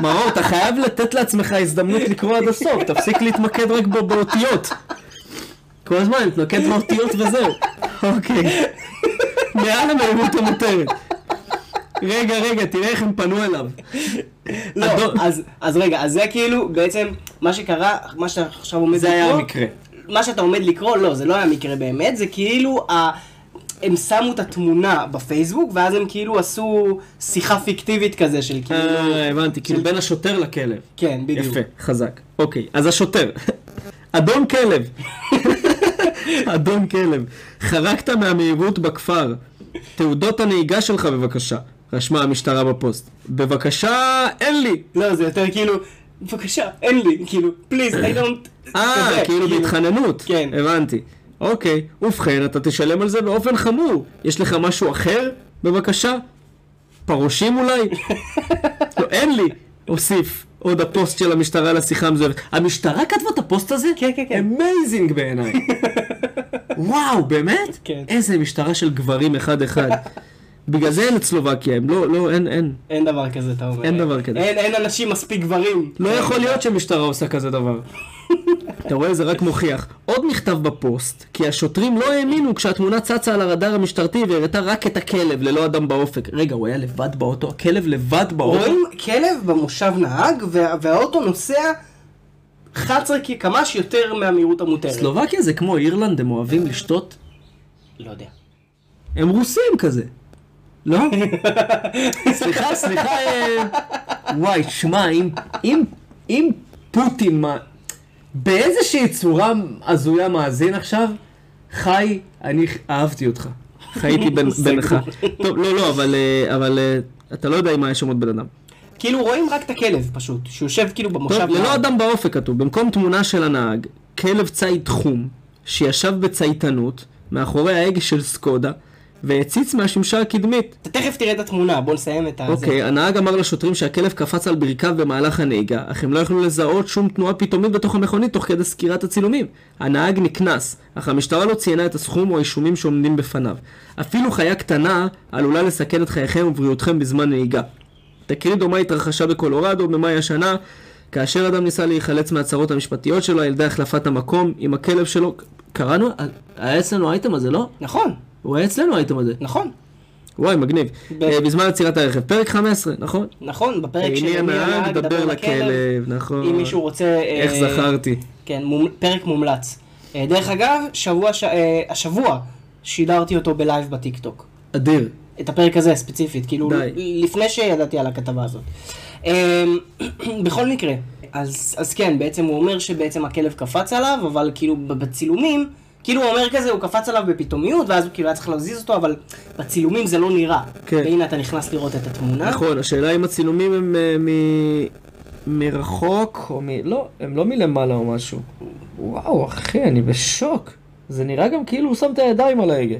מאור, אתה חייב לתת לעצמך הזדמנות לקרוא עד הסוף, תפסיק להתמקד רק בו- באותיות. כל הזמן, תתמקד באותיות וזהו. אוקיי. מעל המהירות המותרת. רגע, רגע, תראה איך הם פנו אליו.
לא,
הדוח-
אז- אז רגע, אז זה כאילו, בעצם, מה שקרה, מה שאתה עכשיו עומד לקרוא,
זה היה המקרה.
מה שאתה עומד לקרוא, לא, זה לא היה מקרה באמת, זה כאילו, ה... הם שמו את התמונה בפייסבוק, ואז הם כאילו עשו שיחה פיקטיבית כזה של כאילו...
אה, הבנתי, כאילו
של-
בין השוטר לכלב.
כן, בדיוק.
יפה, חזק. אוקיי, אז השוטר. אדון כלב. אדון כלב. חרקת מהמהירות בכפר. תעודות הנהיגה שלך בבקשה. רשמה המשטרה בפוסט. בבקשה, אין לי.
לא, זה יותר כאילו, בבקשה, אין לי, כאילו, פליז, I don't...
אה,
כזה,
כאילו בהתחננות.
כן.
הבנתי. אוקיי, ובכן, אתה תשלם על זה באופן חמור. יש לך משהו אחר? בבקשה. פרושים אולי? לא, אין לי. הוסיף עוד הפוסט של המשטרה לשיחה המזוהבת. המשטרה כתבה את הפוסט הזה?
כן, כן, כן.
אמייזינג בעיניי. וואו, באמת?
כן.
איזה משטרה של גברים אחד-אחד. בגלל זה אין את סלובקיה, הם לא, לא, אין, אין.
אין דבר כזה, אתה אומר.
אין דבר כזה.
אין, אין אנשים מספיק גברים. כן.
לא יכול להיות שמשטרה עושה כזה דבר. אתה רואה, זה רק מוכיח. עוד נכתב בפוסט, כי השוטרים לא האמינו כשהתמונה צצה על הרדאר המשטרתי והראתה רק את הכלב, ללא אדם באופק. רגע, הוא היה לבד באוטו? הכלב לבד באוטו?
רואים כלב במושב נהג, וה- והאוטו נוסע 11 קמ"ש יותר מהמהירות המותרת.
סלובקיה זה כמו אירלנד, הם אוהבים לשתות?
לא יודע.
הם רוסים כזה. לא? סליחה, סליחה, אה, וואי, שמע, אם, אם, אם פוטין, מה, באיזושהי צורה הזויה מאזין עכשיו, חי, אני אהבתי אותך. חייתי בין- בינך. טוב, לא, לא, אבל, אה, אבל אה, אתה לא יודע עם מה יש שם עוד בן אדם.
כאילו רואים רק את הכלב פשוט, שיושב כאילו במושב
טוב, ללא
נהג.
אדם באופק כתוב, במקום תמונה של הנהג, כלב ציד חום, שישב בצייתנות, מאחורי ההגה של סקודה, והציץ מהשמשה הקדמית.
אתה תכף תראה את התמונה, בוא נסיים את ה...
אוקיי, הנהג אמר לשוטרים שהכלב קפץ על ברכיו במהלך הנהיגה, אך הם לא יכלו לזהות שום תנועה פתאומית בתוך המכונית תוך כדי סקירת הצילומים. הנהג נקנס, אך המשטרה לא ציינה את הסכום או האישומים שעומדים בפניו. אפילו חיה קטנה עלולה לסכן את חייכם ובריאותכם בזמן נהיגה. תקרית דומה התרחשה בקולורדו במאי השנה, כאשר אדם ניסה להיחלץ מהצהרות המשפטיות שלו על ידי החלפת המקום עם הכלב שלו. קראנו? אה, היה אצלנו האייטם הזה, לא?
נכון,
הוא היה אצלנו האייטם הזה.
נכון,
וואי, מגניב.
ב-
אה, בזמן עצירת הרכב. פרק 15, נכון?
נכון, בפרק של
הנה
מי
הנהג, דבר לכלב, נכון.
אם מישהו רוצה...
איך
אה,
זכרתי.
כן, מומ... פרק מומלץ. אה, דרך אגב, שבוע ש... אה, השבוע שידרתי אותו בלייב בטיקטוק.
אדיר.
את הפרק הזה ספציפית, כאילו,
די.
לפני שידעתי על הכתבה הזאת. אמ, בכל מקרה, אז, אז כן, בעצם הוא אומר שבעצם הכלב קפץ עליו, אבל כאילו ב- בצילומים כאילו הוא אומר כזה, הוא קפץ עליו בפתאומיות, ואז הוא כאילו היה צריך להזיז אותו, אבל בצילומים זה לא נראה.
כן.
והנה אתה נכנס לראות את התמונה.
נכון, השאלה אם הצילומים הם אה, מ... מרחוק או מ... לא, הם לא מלמעלה או משהו. וואו, אחי, אני בשוק. זה נראה גם כאילו הוא שם את הידיים על ההגה.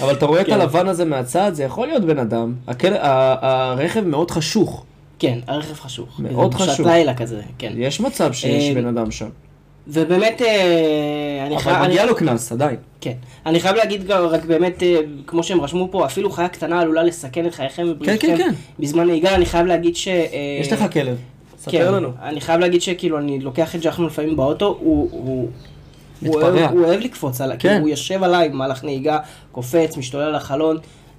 אבל אתה רואה את
כן.
הלבן הזה מהצד, זה יכול להיות בן אדם. הכל... ה... הרכב מאוד חשוך.
כן, הרכב חשוך.
מאוד
כזה בשעת
חשוך.
לילה כזה, כן.
יש מצב שיש
אה,
בן אדם שם.
ובאמת, אה, אני חייב...
אבל מגיע לו קנס, עדיין.
כן. אני חייב להגיד גם, רק באמת, אה, כמו שהם רשמו פה, אפילו חיה קטנה עלולה לסכן את חייכם ובריאותכם
כן, כן.
בזמן נהיגה, אני חייב להגיד ש... אה,
יש לך כלב.
כן,
ספר לנו.
אני חייב להגיד שכאילו, אני לוקח את ג'חנון לפעמים באוטו, הוא... הוא... הוא
מתפרע.
אוהב, הוא אוהב לקפוץ עליי,
כן.
כאילו הוא יושב עליי במהלך נהיגה, קופץ, משתולל על החלון.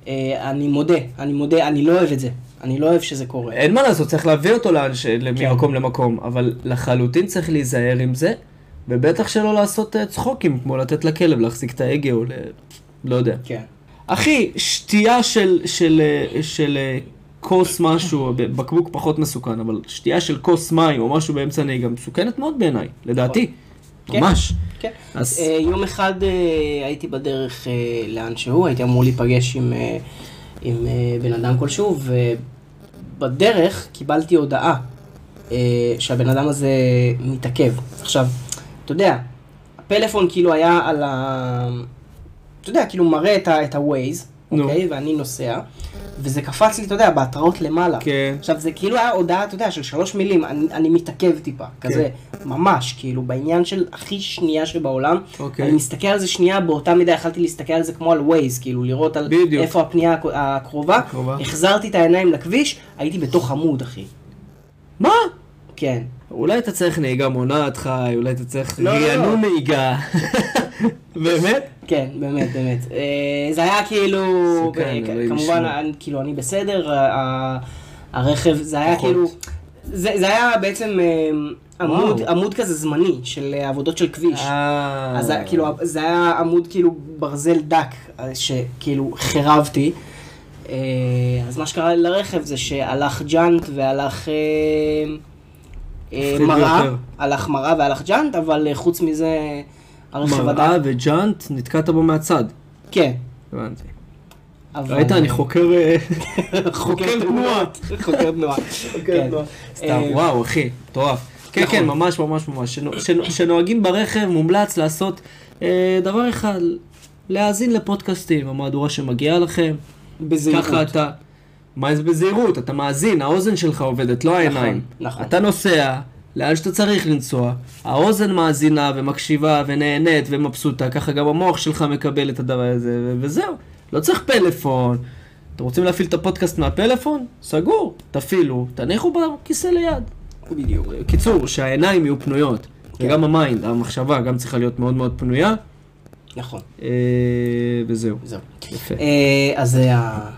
אה, אני מודה, אני מודה, אני לא אוהב את זה. אני לא אוהב שזה קורה.
אין מה לעשות, צריך להביא אותו לאנש...
כן.
ממקום למקום, אבל לחלוטין צריך להיזהר עם זה, ובטח שלא לעשות אה, צחוקים, כמו לתת לכלב להחזיק את ההגה או ל... לא יודע.
כן.
אחי, שתייה של, של, אה, של אה, כוס משהו, ב- בקבוק פחות מסוכן, אבל שתייה של כוס מים או משהו באמצע נהיגה מסוכנת מאוד בעיניי, לדעתי.
כן.
ממש.
כן.
אז-
אז... יום אחד אה, הייתי בדרך אה, לאן שהוא, הייתי אמור להיפגש עם, אה, עם אה, בן אדם כלשהו, ובדרך קיבלתי הודעה אה, שהבן אדם הזה מתעכב. עכשיו, אתה יודע, הפלאפון כאילו היה על ה... אתה יודע, כאילו מראה את ה- את ה-Waze,
נו.
אוקיי? ואני נוסע, וזה קפץ לי, אתה יודע, בהתראות למעלה.
כן.
עכשיו, זה כאילו היה הודעה, אתה יודע, של שלוש מילים, אני, אני מתעכב טיפה,
כן.
כזה, ממש, כאילו, בעניין של הכי שנייה שבעולם.
אוקיי.
אני מסתכל על זה שנייה, באותה מידה יכלתי להסתכל על זה כמו על Waze, כאילו, לראות על
בדיוק.
איפה הפנייה הכ- הקרובה.
הקרובה.
החזרתי את העיניים לכביש, הייתי בתוך עמוד, אחי.
מה?
כן.
אולי אתה צריך נהיגה מונעת חי, אולי אתה צריך
לא, לא, לא.
רענון נהיגה. באמת?
כן, באמת, באמת. אה, זה היה כאילו,
סכן,
אה, כ-
כן, אלוהים
כמובן,
ישמור.
אני- כאילו, אני בסדר, ה- ה- הרכב, זה היה
פחות.
כאילו, זה זה היה בעצם אה, עמוד-
וואו.
עמוד כזה זמני של אה, עבודות של כביש.
אה...
אז זה- כאילו, זה היה עמוד כאילו ברזל דק, אה, שכאילו חרבתי. אה, אז מה שקרה לי לרכב זה שהלך ג'אנט והלך אה, אה,
מפחיד
מראה,
ביותר.
הלך מראה והלך ג'אנט, אבל אה, חוץ מזה הרכב
מראה
עדיין,
אה, וג'אנט, נתקעת בו מהצד.
כן.
הבנתי.
אבל-
ראית, אני חוקר... אה, חוקר
תנועות. חוקר תנועות. כן.
סתם,
אה,
וואו, אחי, מטורף. כן,
נכון.
כן, ממש, ממש, ממש. כשנוהגים ברכב, מומלץ לעשות אה, דבר אחד, להאזין לפודקאסטים, המהדורה שמגיעה לכם.
בזהירות.
ככה אתה... מה זה בזהירות? אתה מאזין, האוזן שלך עובדת, לא העיניים.
נכון.
אתה נוסע לאן שאתה צריך לנסוע, האוזן מאזינה ומקשיבה ונהנית ומבסוטה, ככה גם המוח שלך מקבל את הדבר הזה, ו- וזהו. לא צריך פלאפון. אתם רוצים להפעיל את הפודקאסט מהפלאפון? סגור, תפעילו, תניחו בכיסא ליד.
בדיוק. כן.
קיצור, שהעיניים יהיו פנויות, וגם המיינד, המחשבה גם צריכה להיות מאוד מאוד פנויה,
נכון,
אה, וזהו.
זהו.
יפה.
אה, אז זה ה...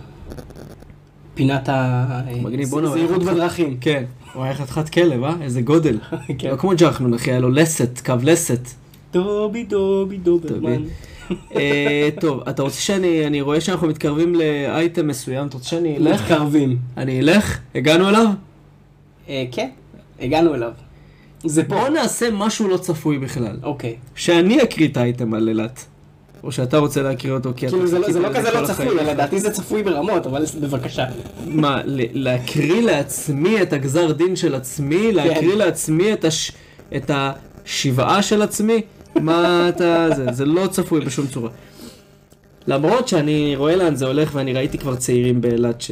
פינת ה...
מגניב, בוא'נה,
זהירות
אבל-
בדרכים.
כן, הוא היה חתיכת כלב, אה? איזה גודל.
כן.
לא כמו ג'חנון, אחי, היה לו לסת, קו לסת.
דובי דובי דוברמן.
דובי. אה, טוב, אתה רוצה שאני, אני רואה שאנחנו מתקרבים לאייטם מסוים, אתה רוצה שאני אלך?
מתקרבים.
אני אלך? הגענו אליו?
אה, כן, הגענו אליו. זה פה.
בואו נעשה משהו לא צפוי בכלל.
אוקיי.
שאני אקריא את האייטם על אילת. או שאתה רוצה להקריא אותו, כי אתה...
כאילו זה לא- זה
חיכית לזה
לא כזה
כל
לא
החיים
צפוי,
שלך.
לדעתי זה צפוי ברמות, אבל בבקשה.
מה, ל- להקריא לעצמי את הגזר דין של
כן.
עצמי? להקריא לעצמי את, הש... את השבעה של עצמי? מה אתה... זה, זה לא צפוי בשום צורה. למרות שאני רואה לאן זה הולך ואני ראיתי כבר צעירים באילת ש...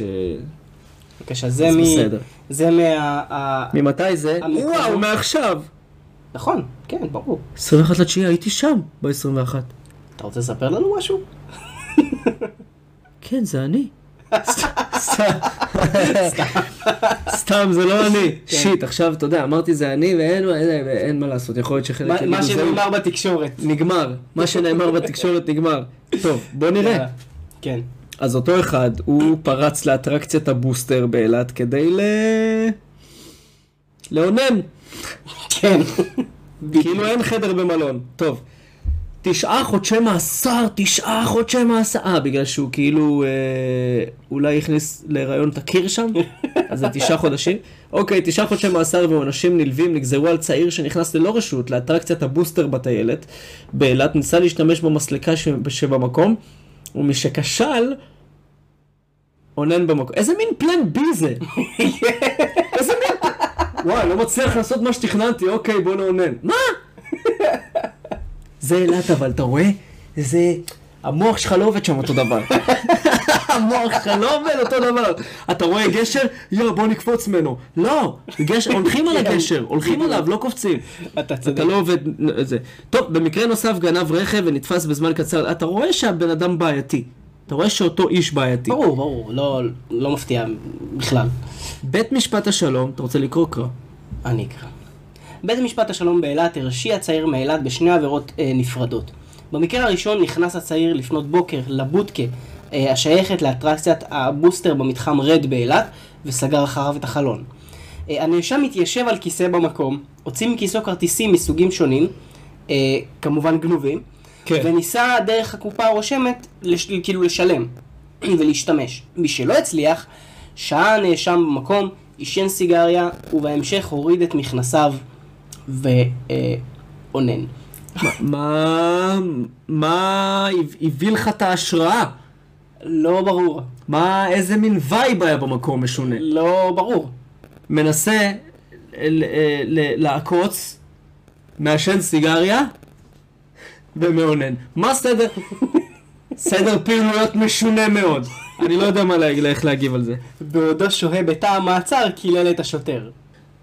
בבקשה, זה
אז
מ...
בסדר.
זה מה... ה-
ממתי זה?
המקום-
וואו, מעכשיו!
נכון, כן, ברור.
21 לתשיעי הייתי שם ב-21.
אתה רוצה לספר לנו משהו?
כן, זה אני. סתם. סתם, זה לא אני.
כן.
שיט, עכשיו, אתה יודע, אמרתי זה אני ואין מה- אין- אין מה לעשות, יכול להיות שחלק...
מה- מה
יגידו, "זהו,
שנאמר בתקשורת.
נגמר, מה שנאמר בתקשורת נגמר. טוב, בוא נראה.
יאללה. כן.
אז אותו אחד, הוא פרץ לאטרקציית הבוסטר באילת כדי ל... לאונן,
כן.
כאילו אין חדר במלון. טוב, תשעה חודשי מאסר, תשעה חודשי מאסר. אה, בגלל שהוא כאילו אה, אולי הכניס להיריון את הקיר שם? אז זה תשעה חודשים? אוקיי, תשעה חודשי מאסר ועונשים נלווים נגזרו על צעיר שנכנס ללא רשות לאטרקציית הבוסטר בטיילת באילת, ניסה להשתמש במסלקה ש... שבמקום, ומשכשל, אונן במקום. איזה מין פלן בי זה? איזה מין... וואי, לא מצליח לעשות מה שתכננתי, אוקיי, בוא נאונן. מה? זה אילת, אבל אתה רואה? זה... המוח שלך לא עובד שם אותו דבר. המוח שלך לא עובד אותו דבר. אתה רואה גשר? יואו, בוא נקפוץ ממנו. לא, גשר, הולכים על הגשר, הולכים עליו, לא קופצים.
אתה צודק.
אתה לא עובד... זה. טוב, במקרה נוסף גנב רכב ונתפס בזמן קצר. אתה רואה שהבן אדם בעייתי. אתה רואה שאותו איש בעייתי.
ברור, ברור, לא, לא מפתיע בכלל.
בית משפט השלום, אתה רוצה לקרוא קרא.
אני אקרא. בית המשפט השלום באילת הרשיע צעיר מאילת בשני עבירות אה, נפרדות. במקרה הראשון נכנס הצעיר לפנות בוקר לבודקה אה, השייכת לאטרקציית הבוסטר במתחם רד באילת וסגר אחריו את החלון. אה, הנאשם התיישב על כיסא במקום, הוציא מכיסו כרטיסים מסוגים שונים, אה, כמובן גנובים,
כן.
וניסה דרך הקופה הרושמת לש, כאילו לשלם ולהשתמש. משלא הצליח, שהה הנאשם במקום, עישן סיגריה, ובהמשך הוריד את מכנסיו אה, ואונן.
מה... מה הביא לך את ההשראה?
לא ברור.
מה, איזה מין וייב היה במקום משונה.
לא ברור.
מנסה אה, ל- ל- ל- לעקוץ, מעשן סיגריה ומאונן. מה סדר? סדר פעילויות משונה מאוד. אני לא יודע מה להגיד, איך להגיב על זה.
בעודו שוהה בתא המעצר, קילל את השוטר.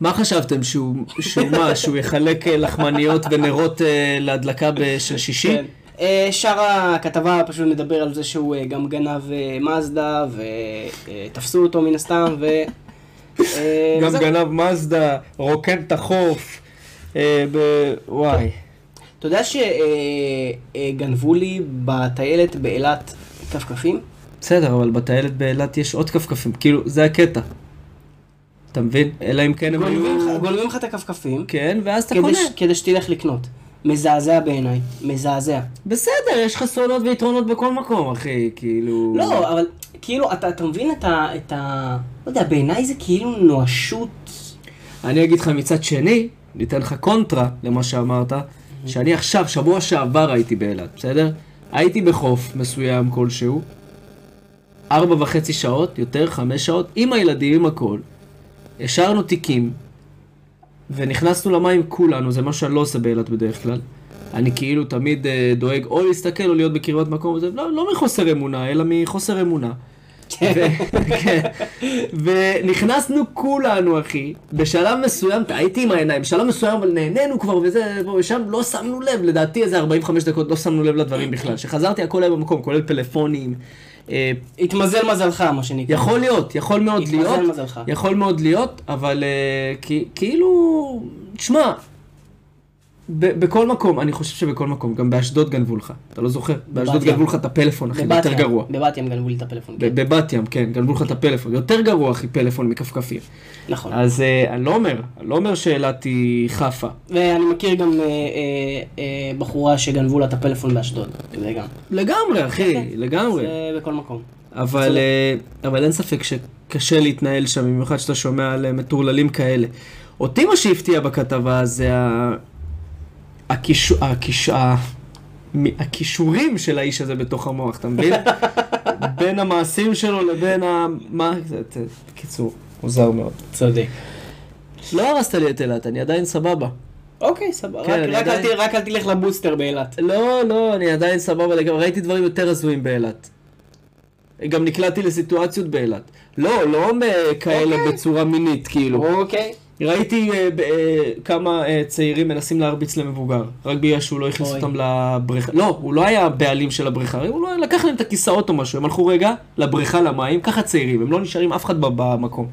מה חשבתם, שהוא, שהוא מה, שהוא יחלק אה, לחמניות ונרות אה, להדלקה ב- של שישי?
כן. אה, שאר הכתבה פשוט מדבר על זה שהוא אה, גם גנב אה, מזדה, ותפסו אותו מן הסתם, ו... אה,
גם
וזהו.
גנב מזדה, רוקן את החוף, אה, ב- וואי.
אתה יודע שגנבו לי בטיילת באילת כפכפים?
בסדר, אבל בטיילת באילת יש עוד כפכפים, כאילו, זה הקטע. אתה מבין? אלא אם כן הם
גונבים
היו...
לך- גונבים לך את הכפכפים,
כן, ואז אתה
כדי
קונה.
ש- כדי שתלך לקנות. מזעזע בעיניי, מזעזע.
בסדר, יש לך סולות ויתרונות בכל מקום, אחי, כאילו...
לא, אבל כאילו, אתה, אתה מבין את ה, את ה... לא יודע, בעיניי זה כאילו נואשות.
אני אגיד לך מצד שני, ניתן לך קונטרה למה שאמרת, שאני עכשיו, שבוע שעבר הייתי באילת, בסדר? הייתי בחוף מסוים כלשהו, ארבע וחצי שעות, יותר חמש שעות, עם הילדים, עם הכל. השארנו תיקים, ונכנסנו למים כולנו, זה מה שאני לא עושה באילת בדרך כלל. אני כאילו תמיד אה, דואג או להסתכל או להיות בקרבת מקום, וזה לא, לא מחוסר אמונה, אלא מחוסר אמונה. ו- כן. ונכנסנו כולנו, אחי. בשלב מסוים, ת- הייתי עם העיניים, בשלב מסוים, אבל נהנינו כבר וזה, פה ושם, לא שמנו לב, לדעתי איזה 45 דקות לא שמנו לב
אה.
לדברים בכלל. כשחזרתי הכל היה במקום, כולל פלאפונים. אה,
התמזל מזלך, מה שנקרא.
יכול להיות, יכול מאוד
התמזל
להיות,
מזלך.
יכול מאוד להיות, אבל אה, כי- כאילו, תשמע, ב- בכל מקום, אני חושב שבכל מקום, גם באשדוד גנבו לך, אתה לא זוכר? באשדוד
ים.
גנבו לך את הפלאפון, אחי, זה
בבת
יותר
ים,
גרוע.
בבת ים גנבו לי את הפלאפון, כן.
ב- בבת ים, כן, גנבו לך את הפלאפון. יותר גרוע, אחי, פלאפון מכפכפים.
נכון.
אז אה, אני לא אומר, אני לא אומר שאילת היא חפה.
ואני מכיר גם אה, אה, אה, בחורה שגנבו לה את הפלאפון באשדוד. זה גם.
לגמרי,
כן.
אחי, לגמרי.
זה בכל מקום.
אבל, אה, אבל אין ספק שקשה להתנהל שם, במיוחד שאתה שומע על אה, מטורללים כאלה. אותי מה שהפתיע בכתבה זה ה... הכישו... הכיש... ה... מ- הכישורים של האיש הזה בתוך המוח, אתה מבין? בין המעשים שלו לבין ה... מה? זה- זה- בקיצור, מוזר מאוד.
צודק.
לא הרסת לי את אילת, אני עדיין סבבה.
אוקיי, סבבה.
כן,
רק-
אני
רק אל
עדיין-
ת- רק אל תלך לבוסטר באילת.
לא, לא, אני עדיין סבבה לגמרי, ראיתי דברים יותר הזויים באילת. גם נקלעתי לסיטואציות באילת. לא, לא מ- כאלה
אוקיי.
בצורה מינית, כאילו.
אוקיי.
ראיתי אה, ב- אה, כמה אה, צעירים מנסים להרביץ למבוגר, רק בגלל שהוא לא הכניס
אוי.
אותם לבריכה. לא, הוא לא היה הבעלים של הבריכה, הוא לא לקח להם את הכיסאות או משהו, הם הלכו רגע לבריכה, למים, ככה צעירים, הם לא נשארים אף אחד ב- במקום.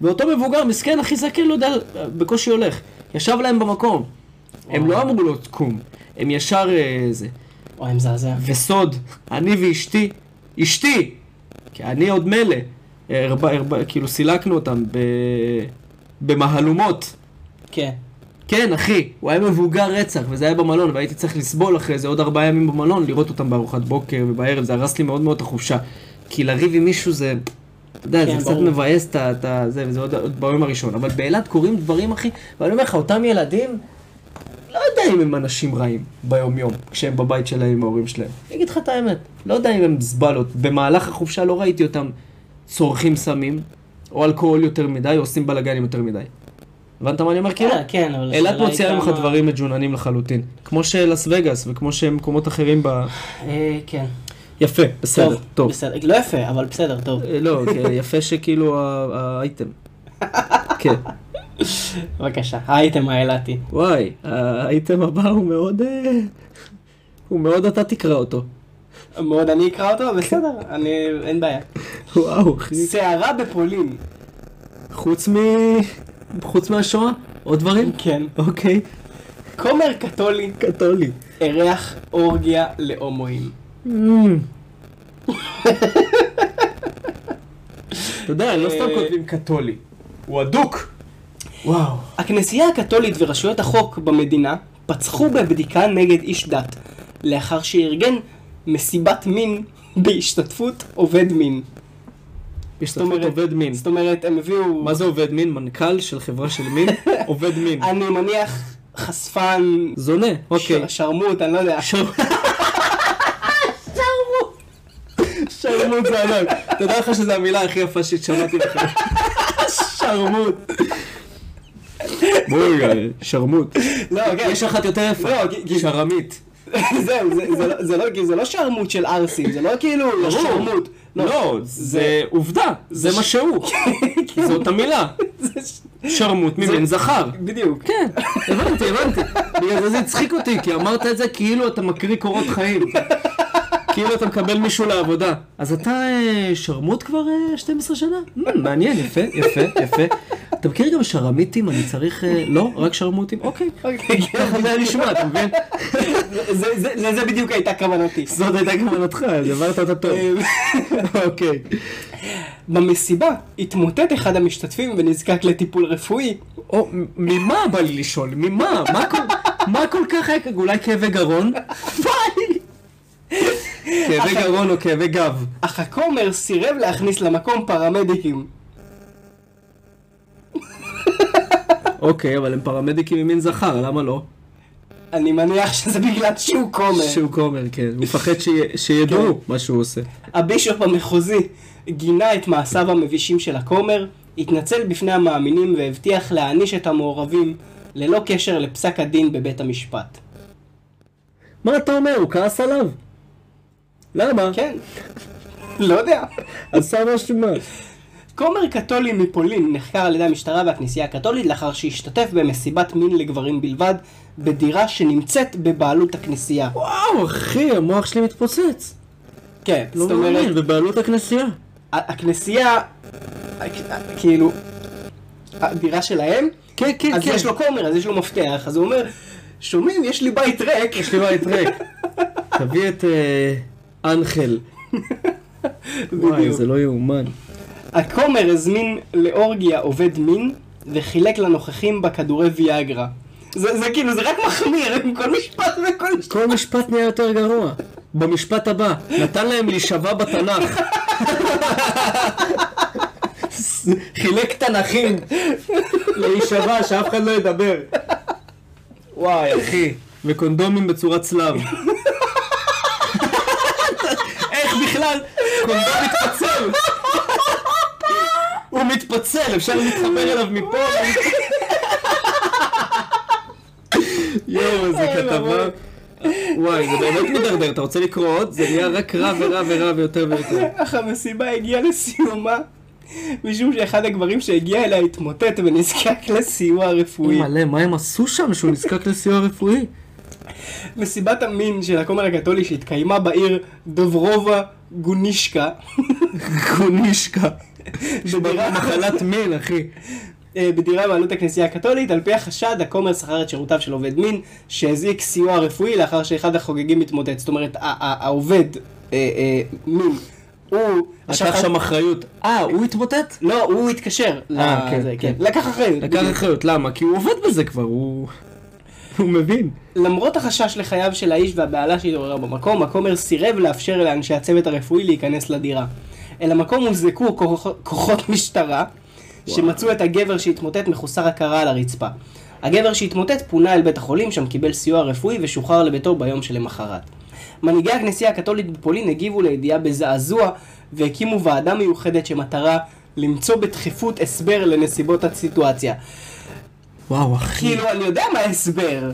ואותו מבוגר, מסכן, הכי זקן, לא יודע, בקושי הולך. ישב להם במקום. הם לא אמרו לו תקום, הם ישר אה, זה.
וואי, מזעזע.
וסוד, אני ואשתי, אשתי, כי אני עוד מילא, אה, הרבה, הרבה, כאילו סילקנו אותם ב... במהלומות.
כן.
כן, אחי, הוא היה מבוגר רצח, וזה היה במלון, והייתי צריך לסבול אחרי זה עוד ארבעה ימים במלון, לראות אותם בארוחת בוקר ובערב, זה הרס לי מאוד מאוד את החופשה. כי לריב עם מישהו זה, אתה יודע,
כן,
זה קצת
ברור.
מבאס את ה... את ה- זה, וזה עוד- עוד ביום הראשון. אבל באילת קורים דברים, אחי, ואני אומר לך, אותם ילדים, לא יודע אם הם אנשים רעים ביום-יום, כשהם בבית שלהם עם ההורים שלהם. אני אגיד לך את האמת, לא יודע אם הם זבלות. במהלך החופשה לא ראיתי אותם צורכים סמים, או אלכוהול יותר מדי, או עושים בלאגנים יותר מדי. הבנת מה אני אומר? כאילו?
כן, כן, אבל...
אילת
השאלה היא
מוציאה ממך
כמה-
דברים מג'וננים לחלוטין. כמו שלאס וגאס וכמו שמקומות אחרים ב...
אה, כן.
יפה, בסדר, טוב.
בסדר. לא יפה, אבל בסדר, טוב.
אה, לא, כן, יפה שכאילו ה- האייטם. כן.
בבקשה, האייטם האילתי.
וואי, האייטם הבא הוא מאוד... אה, הוא מאוד אתה תקרא אותו.
מאוד אני אקרא אותו, בסדר, אני... אין בעיה.
וואו, אחי.
סערה בפולין.
חוץ מ... חוץ מהשואה? עוד דברים?
כן.
אוקיי,
כומר קתולי
קתולי.
אירח אורגיה להומואים.
אמ. אתה יודע, לא סתם כותבים קתולי. הוא אדוק! וואו.
הכנסייה הקתולית ורשויות החוק במדינה פצחו בבדיקה נגד איש דת, לאחר שארגן מסיבת מין בהשתתפות עובד מין.
השתתפות עובד מין.
זאת אומרת, הם הביאו...
מה זה עובד מין? מנכ"ל של חברה של מין? עובד מין.
אני מניח חשפן,
זונה, אוקיי.
ש- שרמוט, אני לא יודע.
שרמוט. שרמוט זה ענק. תדע לך שזו המילה הכי יפה ששמעתי לך. שרמוט. בואי, אה, שרמוט.
לא, כן.
יש אחת יותר יפה.
לא, ג- ג-
שרמית.
זהו, זה- זה לא- זה לא- כי זה לא שרמוט של ערסים, זה לא כאילו שרמוט.
לא, זה עובדה. זה כן, מה שהוא. זאת המילה.
זה ש-
שרמוט ממין זכר.
בדיוק.
כן, הבנתי, הבנתי. בגלל זה זה הצחיק אותי, כי אמרת את זה כאילו אתה מקריא קורות חיים. כאילו אתה מקבל מישהו לעבודה. אז אתה אה, שרמוט כבר אה, 12 שנה? Hmm, מעניין, יפה, יפה, יפה. אתה מכיר גם שרמיטים? אני צריך... אה, לא? רק שרמוטים? אוקיי.
אוקיי, כן.
ככה זה היה נשמע, אתה מבין?
זה- זה- לזה בדיוק הייתה כוונתי.
זאת הייתה כוונתך, אז הבנת אותה טוב.
אה,
אוקיי.
במסיבה התמוטט אחד המשתתפים ונזקק לטיפול רפואי.
או, מ- ממה בא לי לשאול? ממה? מה כל- מה כל כך היה? אולי כאבי גרון? כאבי גרון או כאבי גב?
אך הכומר סירב להכניס למקום פרמדיקים.
אוקיי, אבל הם פרמדיקים ממין זכר, למה לא?
אני מניח שזה בגלל שהוא כומר. כן.
שהוא כומר, כן. הוא מפחד שיה- שידעו מה שהוא עושה.
הבישוף המחוזי גינה את מעשיו המבישים של הכומר, התנצל בפני המאמינים והבטיח להעניש את המעורבים ללא קשר לפסק הדין בבית המשפט.
מה אתה אומר? הוא כעס עליו? למה?
כן, לא יודע.
עשה משהו מה?
כומר קתולי מפולין נחקר על ידי המשטרה והכנסייה הקתולית לאחר שהשתתף במסיבת מין לגברים בלבד בדירה שנמצאת בבעלות הכנסייה.
וואו, אחי, המוח שלי מתפוצץ.
כן,
לא
זאת אומרת,
מאמין, בבעלות הכנסייה.
ה- הכנסייה, הכ- כאילו, הדירה שלהם,
כן, כן,
אז
כן.
יש לו כומר, אז יש לו מפתח, אז הוא אומר, שומעים, יש לי בית ריק.
יש לי בית ריק. תביא את אה, אנחל. וואי,
בדיוק.
זה לא יאומן.
הכומר הזמין לאורגיה עובד מין, וחילק לנוכחים בה כדורי ויאגרה. זה, זה כאילו, זה רק מחמיר, עם כל משפט וכל...
כל משפט נהיה יותר גרוע. במשפט הבא, נתן להם להישבע בתנ"ך. חילק תנ"כים להישבע, שאף אחד לא ידבר. וואי, אחי. וקונדומים בצורת צלב. איך בכלל קונדום מתפצל? הוא מתפצל, אפשר להתחבר אליו מפה. יואו, איזה
אוי,
כתבה.
ואבוי.
וואי, זה באמת מידרדר, אתה רוצה לקרוא עוד? זה נהיה רק רע ורע ורע ויותר ויותר.
אך המסיבה הגיעה לסיומה, משום שאחד הגברים שהגיע אליה התמוטט ונזקק לסיוע רפואי.
מלא, מה הם עשו שם שהוא נזקק לסיוע רפואי?
מסיבת המין של הכומר הקתולי שהתקיימה בעיר דוברובה גונישקה,
קונישקה.
בדירה-
מחלת מין, אחי.
אה, בדירה בעלות הכנסייה הקתולית, על פי החשד, הכומר שכר את שירותיו של עובד מין, שהזעיק סיוע רפואי לאחר שאחד החוגגים התמוטט. זאת אומרת, ה- ה- העובד אה, אה, מין הוא...
לקח שם אחריות. אה, הוא התמוטט?
לא, הוא התקשר.
אה,
ל-
כן,
זה,
כן.
לקח אחריות.
לקח
בדיוק.
אחריות, למה? כי הוא עובד בזה כבר, הוא... הוא מבין.
למרות החשש לחייו של האיש והבהלה שהתעוררה במקום, הכומר סירב לאפשר לאנשי הצוות הרפואי להיכנס לדירה. אל המקום הוזעקו כוח- כוחות משטרה, שמצאו את הגבר שהתמוטט מחוסר הכרה על הרצפה. הגבר שהתמוטט פונה אל בית החולים, שם קיבל סיוע רפואי ושוחרר לביתו ביום שלמחרת. מנהיגי הכנסייה הקתולית בפולין הגיבו לידיעה בזעזוע והקימו ועדה מיוחדת שמטרה למצוא בדחיפות הסבר לנסיבות הסיטואציה.
וואו, אחי.
כאילו, אני יודע מה ההסבר.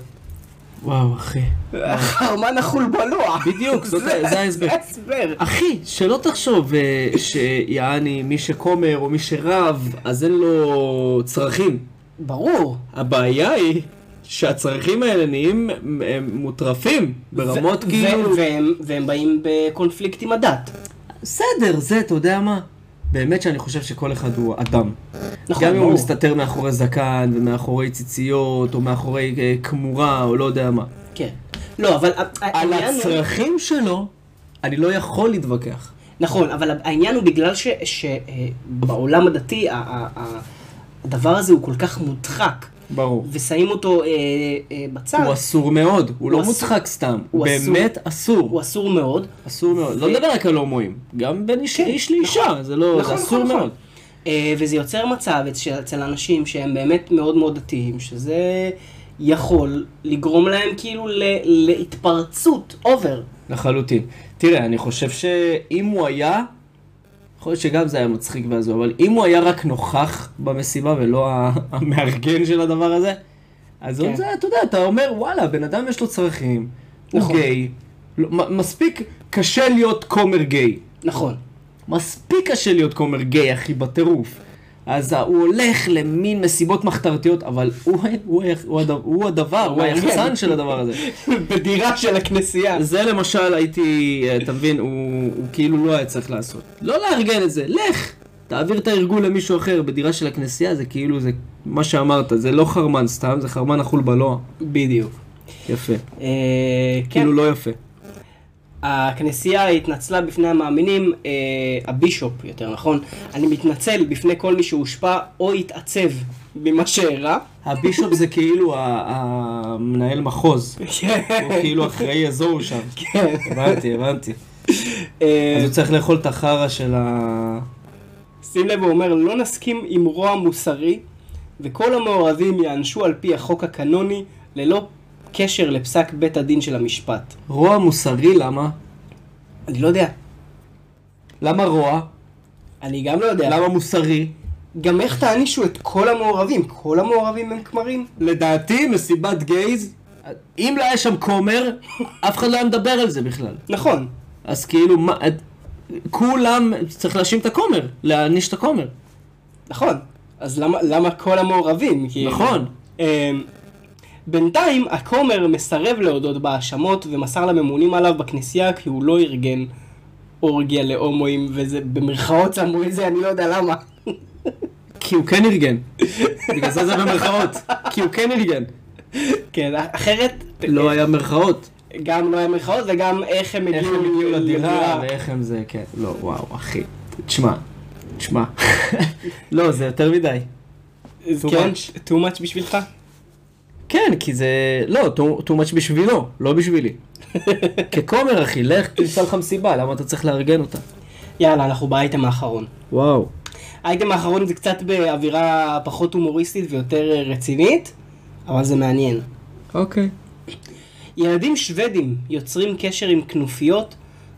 וואו, אחי.
החרמן החולבלוע.
בדיוק, זאת- זה ההסבר.
זה ההסבר.
אחי, שלא תחשוב אה, שיעני מי שכומר או מי שרב, אז אין לו צרכים.
ברור.
הבעיה היא שהצרכים האלה נהיים הם- הם מוטרפים ברמות
ו-
כאילו...
ו- והם- והם באים בקונפליקט עם הדת.
בסדר, זה, אתה יודע מה? באמת שאני חושב שכל אחד הוא אדם.
נכון,
גם אם הוא
ברור.
מסתתר מאחורי זקן, ומאחורי ציציות, או מאחורי אה, כמורה, או לא יודע מה.
כן. לא, אבל... ה-
על
העניין הוא-
הצרכים שלו, אני לא יכול להתווכח.
נכון, אבל העניין הוא בגלל שבעולם הדתי ה- ה- ה- הדבר הזה הוא כל כך מודחק,
ברור.
ושמים אותו אה, אה, בצד,
הוא אסור מאוד, הוא לא
הוא אסור.
מוצחק סתם.
הוא
הוא
אסור.
באמת
הוא
אסור.
אסור מאוד.
אסור מאוד. לא נדבר רק על הומואים. גם בין איש
כן, נכון,
איש לאישה, זה לא... זה אסור מאוד.
אה, וזה יוצר מצב אצל, אצל אנשים שהם באמת מאוד מאוד דתיים, שזה יכול לגרום להם כאילו ל, להתפרצות אובר.
לחלוטין. תראה, אני חושב שאם הוא היה, יכול להיות שגם זה היה מצחיק והזו, אבל אם הוא היה רק נוכח במסיבה ולא ה- המארגן של הדבר הזה, אז
כן.
עוד זה, אתה יודע, אתה אומר, וואלה, בן אדם יש לו צרכים, הוא
נכון.
גיי, לא, מ- מספיק קשה להיות כומר גיי.
נכון.
מספיק קשה להיות כומר גיי, אחי, בטירוף. אז ה- הוא הולך למין מסיבות מחתרתיות, אבל הוא, הוא, ה- הוא, הדבר, הוא הדבר, הוא
מעניין.
היחסן של הדבר הזה.
בדירה של הכנסייה.
זה למשל הייתי, אה, אתה מבין, הוא, הוא כאילו לא היה צריך לעשות. לא לארגן את זה, לך! תעביר את הארגון למישהו אחר בדירה של הכנסייה, זה כאילו, זה מה שאמרת, זה לא חרמן סתם, זה חרמן אכול בלוע.
בדיוק.
יפה.
אה, כן.
כאילו לא יפה.
הכנסייה התנצלה בפני המאמינים, אה, הבישופ יותר נכון, אני מתנצל בפני כל מי שהושפע או התעצב ממה שאירע.
הבישופ זה כאילו ה- המנהל מחוז. הוא כאילו אחראי אזור שם.
כן.
הבנתי, הבנתי.
אה,
אז הוא צריך לאכול את החרא של ה...
שים לב, הוא אומר, לא נסכים עם רוע מוסרי, וכל המעורבים ייענשו על פי החוק הקנוני, ללא קשר לפסק בית הדין של המשפט.
רוע מוסרי, למה?
אני לא יודע.
למה רוע?
אני גם לא יודע.
למה מוסרי?
גם איך תענישו את כל המעורבים? כל המעורבים הם כמרים?
לדעתי, מסיבת גייז, אם לא היה שם כומר, אף אחד לא היה מדבר על זה בכלל.
נכון.
אז כאילו, מה, את- כולם, צריך להאשים את הכומר, להעניש את הכומר.
נכון. אז למה, למה כל המעורבים? כי...
נכון.
אמ, בינתיים, הכומר מסרב להודות בהאשמות ומסר לממונים עליו בכנסייה כי הוא לא ארגן אורגיה להומואים, וזה במרכאות שמו את זה, אני לא יודע למה.
כי הוא כן ארגן. בגלל זה זה במרכאות. כי הוא כן ארגן.
כן, אחרת,
לא היה מרכאות.
גם לא היה מרכאות וגם איך הם
איך
הגיעו
הם הגיעו לדירה ואיך הם זה, כן. לא, וואו, אחי. תשמע, תשמע. לא, זה יותר מדי.
אז
too
כן,
much.
too much בשבילך?
כן, כי זה... לא, too- too much בשבילו, לא בשבילי. ככומר, אחי, לך תמצא לך מסיבה, למה אתה צריך לארגן אותה?
יאללה, אנחנו באייטם האחרון.
וואו.
האייטם האחרון זה קצת באווירה פחות הומוריסטית ויותר אה, רצינית, אבל זה מעניין.
אוקיי.
ילדים שוודים יוצרים קשר עם כנופיות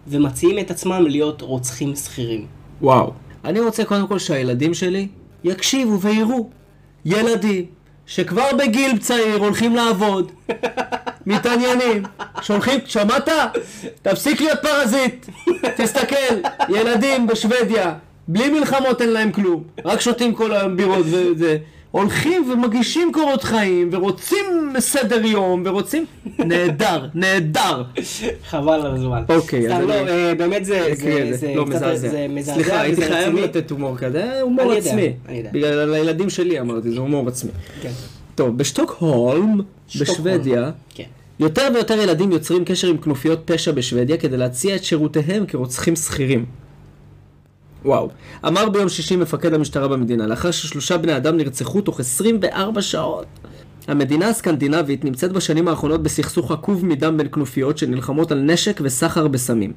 ומציעים את עצמם להיות רוצחים שכירים.
וואו. אני רוצה קודם כל שהילדים שלי יקשיבו ויראו. ילדים שכבר בגיל צעיר הולכים לעבוד, מתעניינים, שהולכים, שמעת? תפסיק להיות פרזיט, תסתכל, ילדים בשוודיה, בלי מלחמות אין להם כלום, רק שותים כל היום בירות וזה. הולכים ומגישים קורות חיים, ורוצים סדר יום, ורוצים... נהדר, נהדר.
חבל על הזמן.
אוקיי,
סתם,
אז
לא,
אני-
אה, באמת זה,
כן,
זה, זה,
לא
קצת-
מזעזע.
זה מזעזע,
סליחה, הייתי
וזה
חייב
רציני.
לתת הומור כזה, אה, הומור
אני יודע,
עצמי.
אני יודע.
בגלל הילדים שלי אמרתי, זה הומור עצמי.
כן,
טוב, בשטוקהולם,
שטוקהולם.
בשוודיה,
כן.
יותר ויותר ילדים יוצרים קשר עם כנופיות פשע בשוודיה כדי להציע את שירותיהם כרוצחים שכירים. וואו. אמר ביום שישי מפקד המשטרה במדינה, לאחר ששלושה בני אדם נרצחו תוך 24 שעות. המדינה הסקנדינבית נמצאת בשנים האחרונות בסכסוך עקוב מדם בין כנופיות שנלחמות על נשק וסחר בסמים.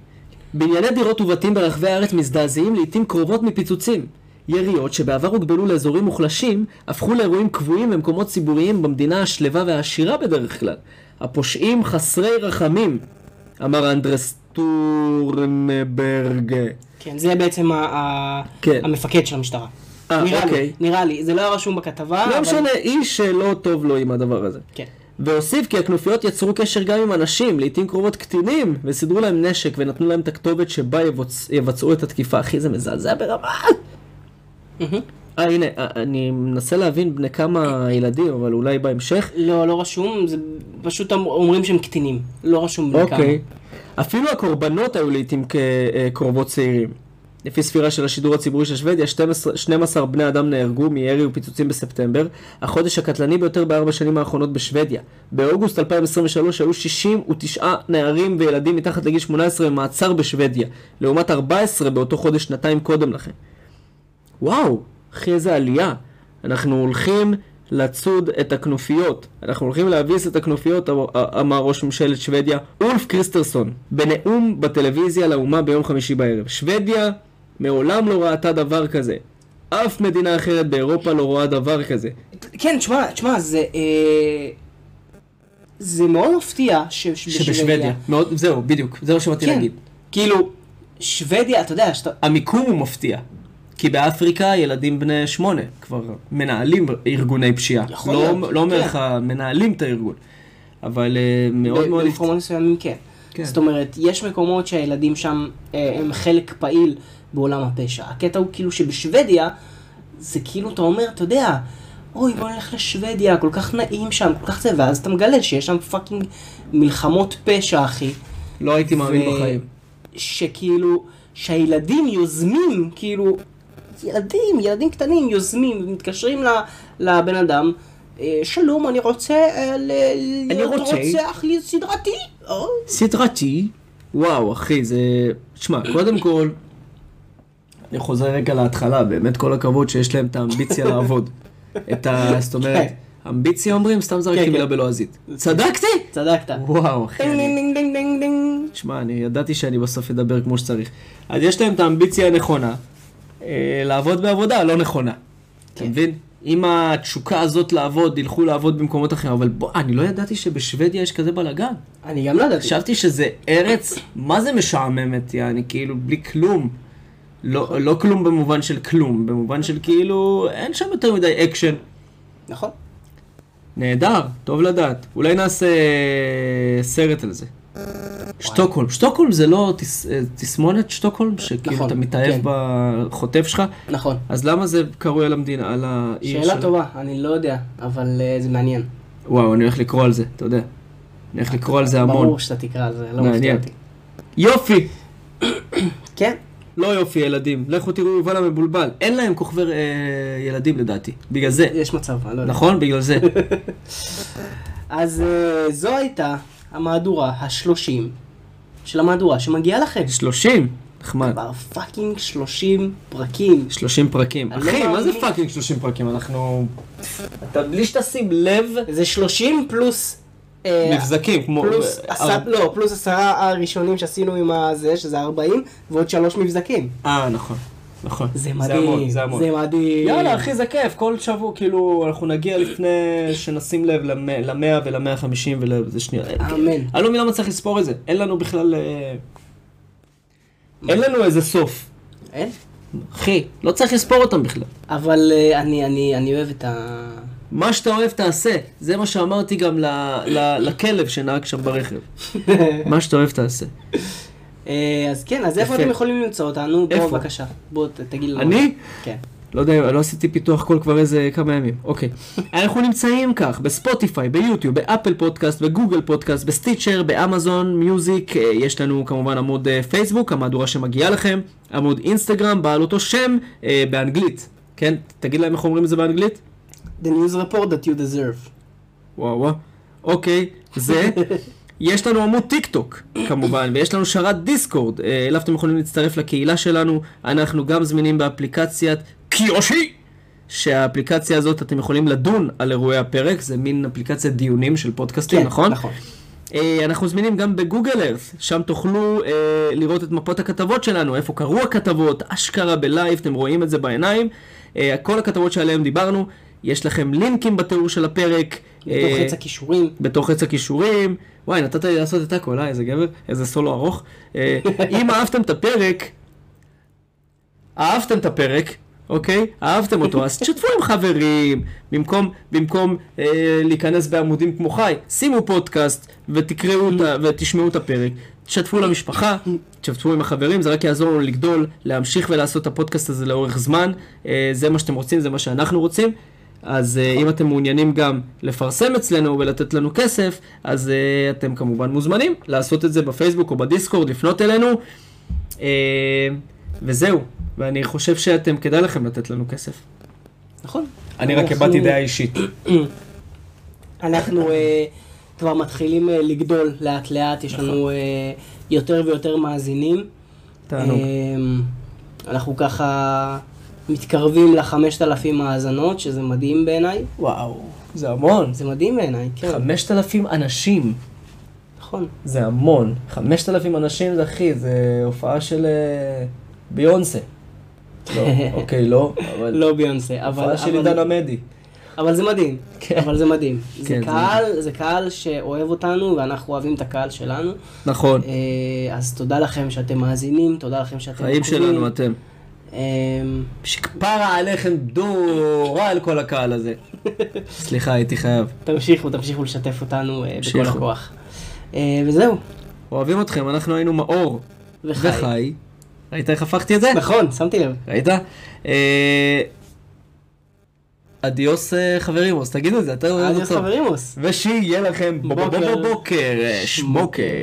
בענייני דירות ובתים ברחבי הארץ מזדעזעים לעיתים קרובות מפיצוצים. יריות שבעבר הוגבלו לאזורים מוחלשים, הפכו לאירועים קבועים במקומות ציבוריים במדינה השלווה והעשירה בדרך כלל. הפושעים חסרי רחמים, אמר אנדרס טורנברג.
כן, זה בעצם ה- ה-
כן.
המפקד של המשטרה.
אה,
נראה
אוקיי.
לי, נראה לי, זה לא היה רשום בכתבה,
לא
אבל-
משנה, איש שלא טוב לו עם הדבר הזה.
כן.
והוסיף כי הכנופיות יצרו קשר גם עם אנשים, לעיתים קרובות קטינים, וסידרו להם נשק ונתנו להם את הכתובת שבה יבוצ... יבצעו את התקיפה. אחי, זה מזעזע ברמה.
מהמם.
אה, הנה, אה, אני מנסה להבין בני כמה הילדים, אבל אולי בהמשך.
לא, לא רשום, זה פשוט אמ- אומרים שהם קטינים. לא רשום בן כמה.
אוקיי. אפילו הקורבנות היו לעיתים כ- אה, קרובות צעירים. לפי ספירה של השידור הציבורי של שוודיה, 12, 12 בני אדם נהרגו מירי ופיצוצים בספטמבר, החודש הקטלני ביותר בארבע שנים האחרונות בשוודיה. באוגוסט 2023 היו 69 נערים וילדים מתחת לגיל 18 במעצר בשוודיה, לעומת 14 באותו חודש שנתיים קודם לכן. וואו, אחי איזה עלייה. אנחנו הולכים לצוד את הכנופיות. אנחנו הולכים להביס את הכנופיות, אמ, אה, אמר ראש ממשלת שוודיה, אולף קריסטרסון, בנאום בטלוויזיה לאומה ביום חמישי בערב. שוודיה מעולם לא ראתה דבר כזה. אף מדינה אחרת באירופה לא רואה דבר כזה.
כן, תשמע, תשמע, זה... אה, זה מאוד מפתיע ש- שבשוודיה.
מאוד, זהו, בדיוק, זה מה שבאתי
כן. כאילו, שוודיה, אתה יודע, שאתה...
המיקום הוא מפתיע. כי באפריקה ילדים בני שמונה כבר מנהלים ארגוני פשיעה.
יכול
לא,
להיות,
לא אומר
כן.
לך, מנהלים את הארגון. אבל אה, מאוד
ב-
מאוד...
במקומות מסוימים כן.
כן.
זאת אומרת, יש מקומות שהילדים שם אה, הם חלק פעיל בעולם הפשע. הקטע הוא כאילו שבשוודיה, זה כאילו, אתה אומר, אתה יודע, אוי, בוא נלך לשוודיה, כל כך נעים שם, כל כך זה, ואז אתה מגלה שיש שם פאקינג מלחמות פשע, אחי.
לא הייתי מאמין
ו-
בחיים.
שכאילו, שהילדים יוזמים, כאילו, ילדים, ילדים קטנים יוזמים, מתקשרים ל- לבן אדם, אה, שלום, אני רוצה אה, ל- להיות
רוצה."
רוצח לי סדרתי. או,
סדרתי, וואו אחי זה... תשמע, קודם כל, אני חוזר רגע להתחלה, באמת כל הכבוד שיש להם את האמביציה לעבוד. את ה... זאת אומרת, אמביציה אומרים? סתם זרקתי
כן,
מילה
כן.
בלועזית. צדקתי? אה,
צדקת.
וואו אחי.
דינג,
אוקיי, אני-
דינג, דינג, דינג, דינג.
שמע, אני ידעתי שאני בסוף אדבר כמו שצריך. אז יש להם את האמביציה הנכונה, אה, לעבוד בעבודה הלא נכונה. אתה
כן.
מבין? אם התשוקה הזאת לעבוד, ילכו לעבוד במקומות אחרים, אבל בוא, אני לא ידעתי שבשוודיה יש כזה בלאגן.
אני גם לא ידעתי.
חשבתי שזה ארץ, מה זה משעממת, יעני, כאילו, בלי כלום. לא, לא כלום במובן של כלום, במובן של כאילו, אין שם יותר מדי אקשן.
נכון.
נהדר, טוב לדעת. אולי נעשה אה, סרט על זה. שטוקהולם. שטוקהולם זה לא תס, אה, תסמונת שטוקהולם, שכאילו
נכון,
אתה מתאהב
כן.
בחוטף שלך?
נכון.
אז למה זה קרוי על המדינה, על העיר שלה?
שאלה טובה, אני לא יודע, אבל אה, זה מעניין.
וואו, אני הולך לקרוא על זה, אתה יודע. אני הולך לקרוא על זה המון.
ברור שאתה תקרא על זה, לא
מעניין.
מפתיע אותי.
יופי!
כן?
לא יופי ילדים, לכו תראו יובל המבולבל, אין להם כוכבי אה, ילדים לדעתי, בגלל זה,
יש מצב, אני לא יודע.
נכון? בגלל זה.
אז אה, זו הייתה המהדורה השלושים של המהדורה שמגיעה לכם.
30, נחמד,
כבר פאקינג שלושים פרקים.
30 פרקים.
אני לא
אחי, מה זה
מאמין.
פאקינג 30 פרקים? אנחנו... אתה בלי שתשים לב,
זה שלושים פלוס... אה,
מבזקים, כמו...
פלוס
אה,
עשר- לא, פלוס עשרה הראשונים שעשינו עם הזה, שזה ארבעים, ועוד שלוש מבזקים.
אה, נכון, נכון.
זה
המון,
מדהים,
זה המון.
זה מדהים.
יאללה, אחי, זה כיף, כל שבוע, כאילו, אנחנו נגיע לפני שנשים לב למאה- למאה ולמאה חמישים ולזה שנייה.
אמן.
אני לא מבין למה צריך לספור את זה, אין לנו בכלל... אה, אין לנו איזה סוף.
אין?
אחי, לא צריך לספור אותם בכלל.
אבל אה, אני, אני, אני אוהב את ה...
מה שאתה אוהב תעשה, זה מה שאמרתי גם ל, ל, לכלב שנהג שם ברכב. מה שאתה אוהב תעשה.
אה, אז כן, אז איפה
יפה.
אתם יכולים למצוא אותנו?
איפה?
בוא, בבקשה. בוא, ת- תגיד לנו.
אני?
כן.
לא יודע, לא עשיתי פיתוח קול כבר איזה כמה ימים. אוקיי. אנחנו נמצאים כך, בספוטיפיי, ביוטיוב, באפל פודקאסט, בגוגל פודקאסט, בסטיצ'ר, באמזון, מיוזיק, אה, יש לנו כמובן עמוד אה, פייסבוק, המהדורה שמגיעה לכם, עמוד אינסטגרם, בעל אותו שם, אה, באנגלית. כן? תגיד להם איך אומרים את זה באנגלית?
The news report that you deserve.
וואו וואו. אוקיי, זה. יש לנו עמוד טיק טוק, כמובן, ויש לנו שרת דיסקורד, אה, אליו אתם יכולים להצטרף לקהילה שלנו. אנחנו גם זמינים באפליקציית קיושי, שהאפליקציה הזאת, אתם יכולים לדון על אירועי הפרק, זה מין אפליקציית דיונים של פודקאסטים,
כן,
נכון?
נכון.
אה, אנחנו זמינים גם בגוגל ארת', שם תוכלו אה, לראות את מפות הכתבות שלנו, איפה קרו הכתבות, אשכרה בלייב, אתם רואים את זה בעיניים. אה, כל הכתבות שעליהן דיברנו, יש לכם לינקים בתיאור של הפרק.
בתוך
אה,
חץ הכישורים.
בתוך עץ הכישורים. וואי, נתת לי לעשות את הכל, אה, איזה גבר, איזה סולו ארוך. אה, אם אהבתם את הפרק, אהבתם את הפרק, אוקיי? אהבתם אותו, אז תשתפו עם חברים. במקום, במקום אה, להיכנס בעמודים כמו חי, שימו פודקאסט ותקראו את ה- ותשמעו את הפרק. תשתפו למשפחה, תשתפו עם החברים, זה רק יעזור לנו לגדול, להמשיך ולעשות את הפודקאסט הזה לאורך זמן. אה, זה מה שאתם רוצים, זה מה שאנחנו רוצים. אז אה, אם אתם מעוניינים גם לפרסם אצלנו ולתת לנו כסף, אז אה, אתם כמובן מוזמנים לעשות את זה בפייסבוק או בדיסקורד, לפנות אלינו. אה, וזהו, ואני חושב שאתם, כדאי לכם לתת לנו כסף.
נכון.
אני רק
אנחנו-
הבעתי דעה אישית.
אנחנו אה, כבר מתחילים אה, לגדול לאט לאט, יש
נכון.
לנו אה, יותר ויותר מאזינים.
תענוג.
אמ, אנחנו ככה מתקרבים לחמשת אלפים האזנות, שזה מדהים בעיניי.
וואו, זה המון.
זה מדהים בעיניי,
נכון.
כן,
5,000 אנשים,
נכון.
זה המון. 5,000 אנשים זה אחי, זה הופעה של אה, ביונסה. לא, אוקיי, לא, אבל...
לא ביונסה, אבל,
הופעה של
אבל,
עידן עמדי.
אבל זה מדהים,
כן.
אבל זה מדהים. זה
כן, זה
קהל, זה קהל שאוהב אותנו ואנחנו אוהבים את הקהל שלנו.
נכון,
אה, אז תודה לכם שאתם מאזינים, תודה לכם שאתם
חיים שלנו אתם.
אמ,
שכפרה אה, עליכם דורה על כל הקהל הזה. סליחה, הייתי חייב.
תמשיכו, תמשיכו לשתף אותנו אה, בכל
תמשיכו.
הכוח. אה, וזהו,
אוהבים אתכם, אנחנו היינו מאור
וחי.
וחי. ראית איך הפכתי את זה?
נכון, שמתי לב.
ראית? אה, אדיוס אה, חברים, אז תגידו את זה, אתה לא אוהב
אדיוס
אותו.
חברימוס.
ושיהיה לכם בוקר,
בוקר.
בוקר, אה, שמוקר.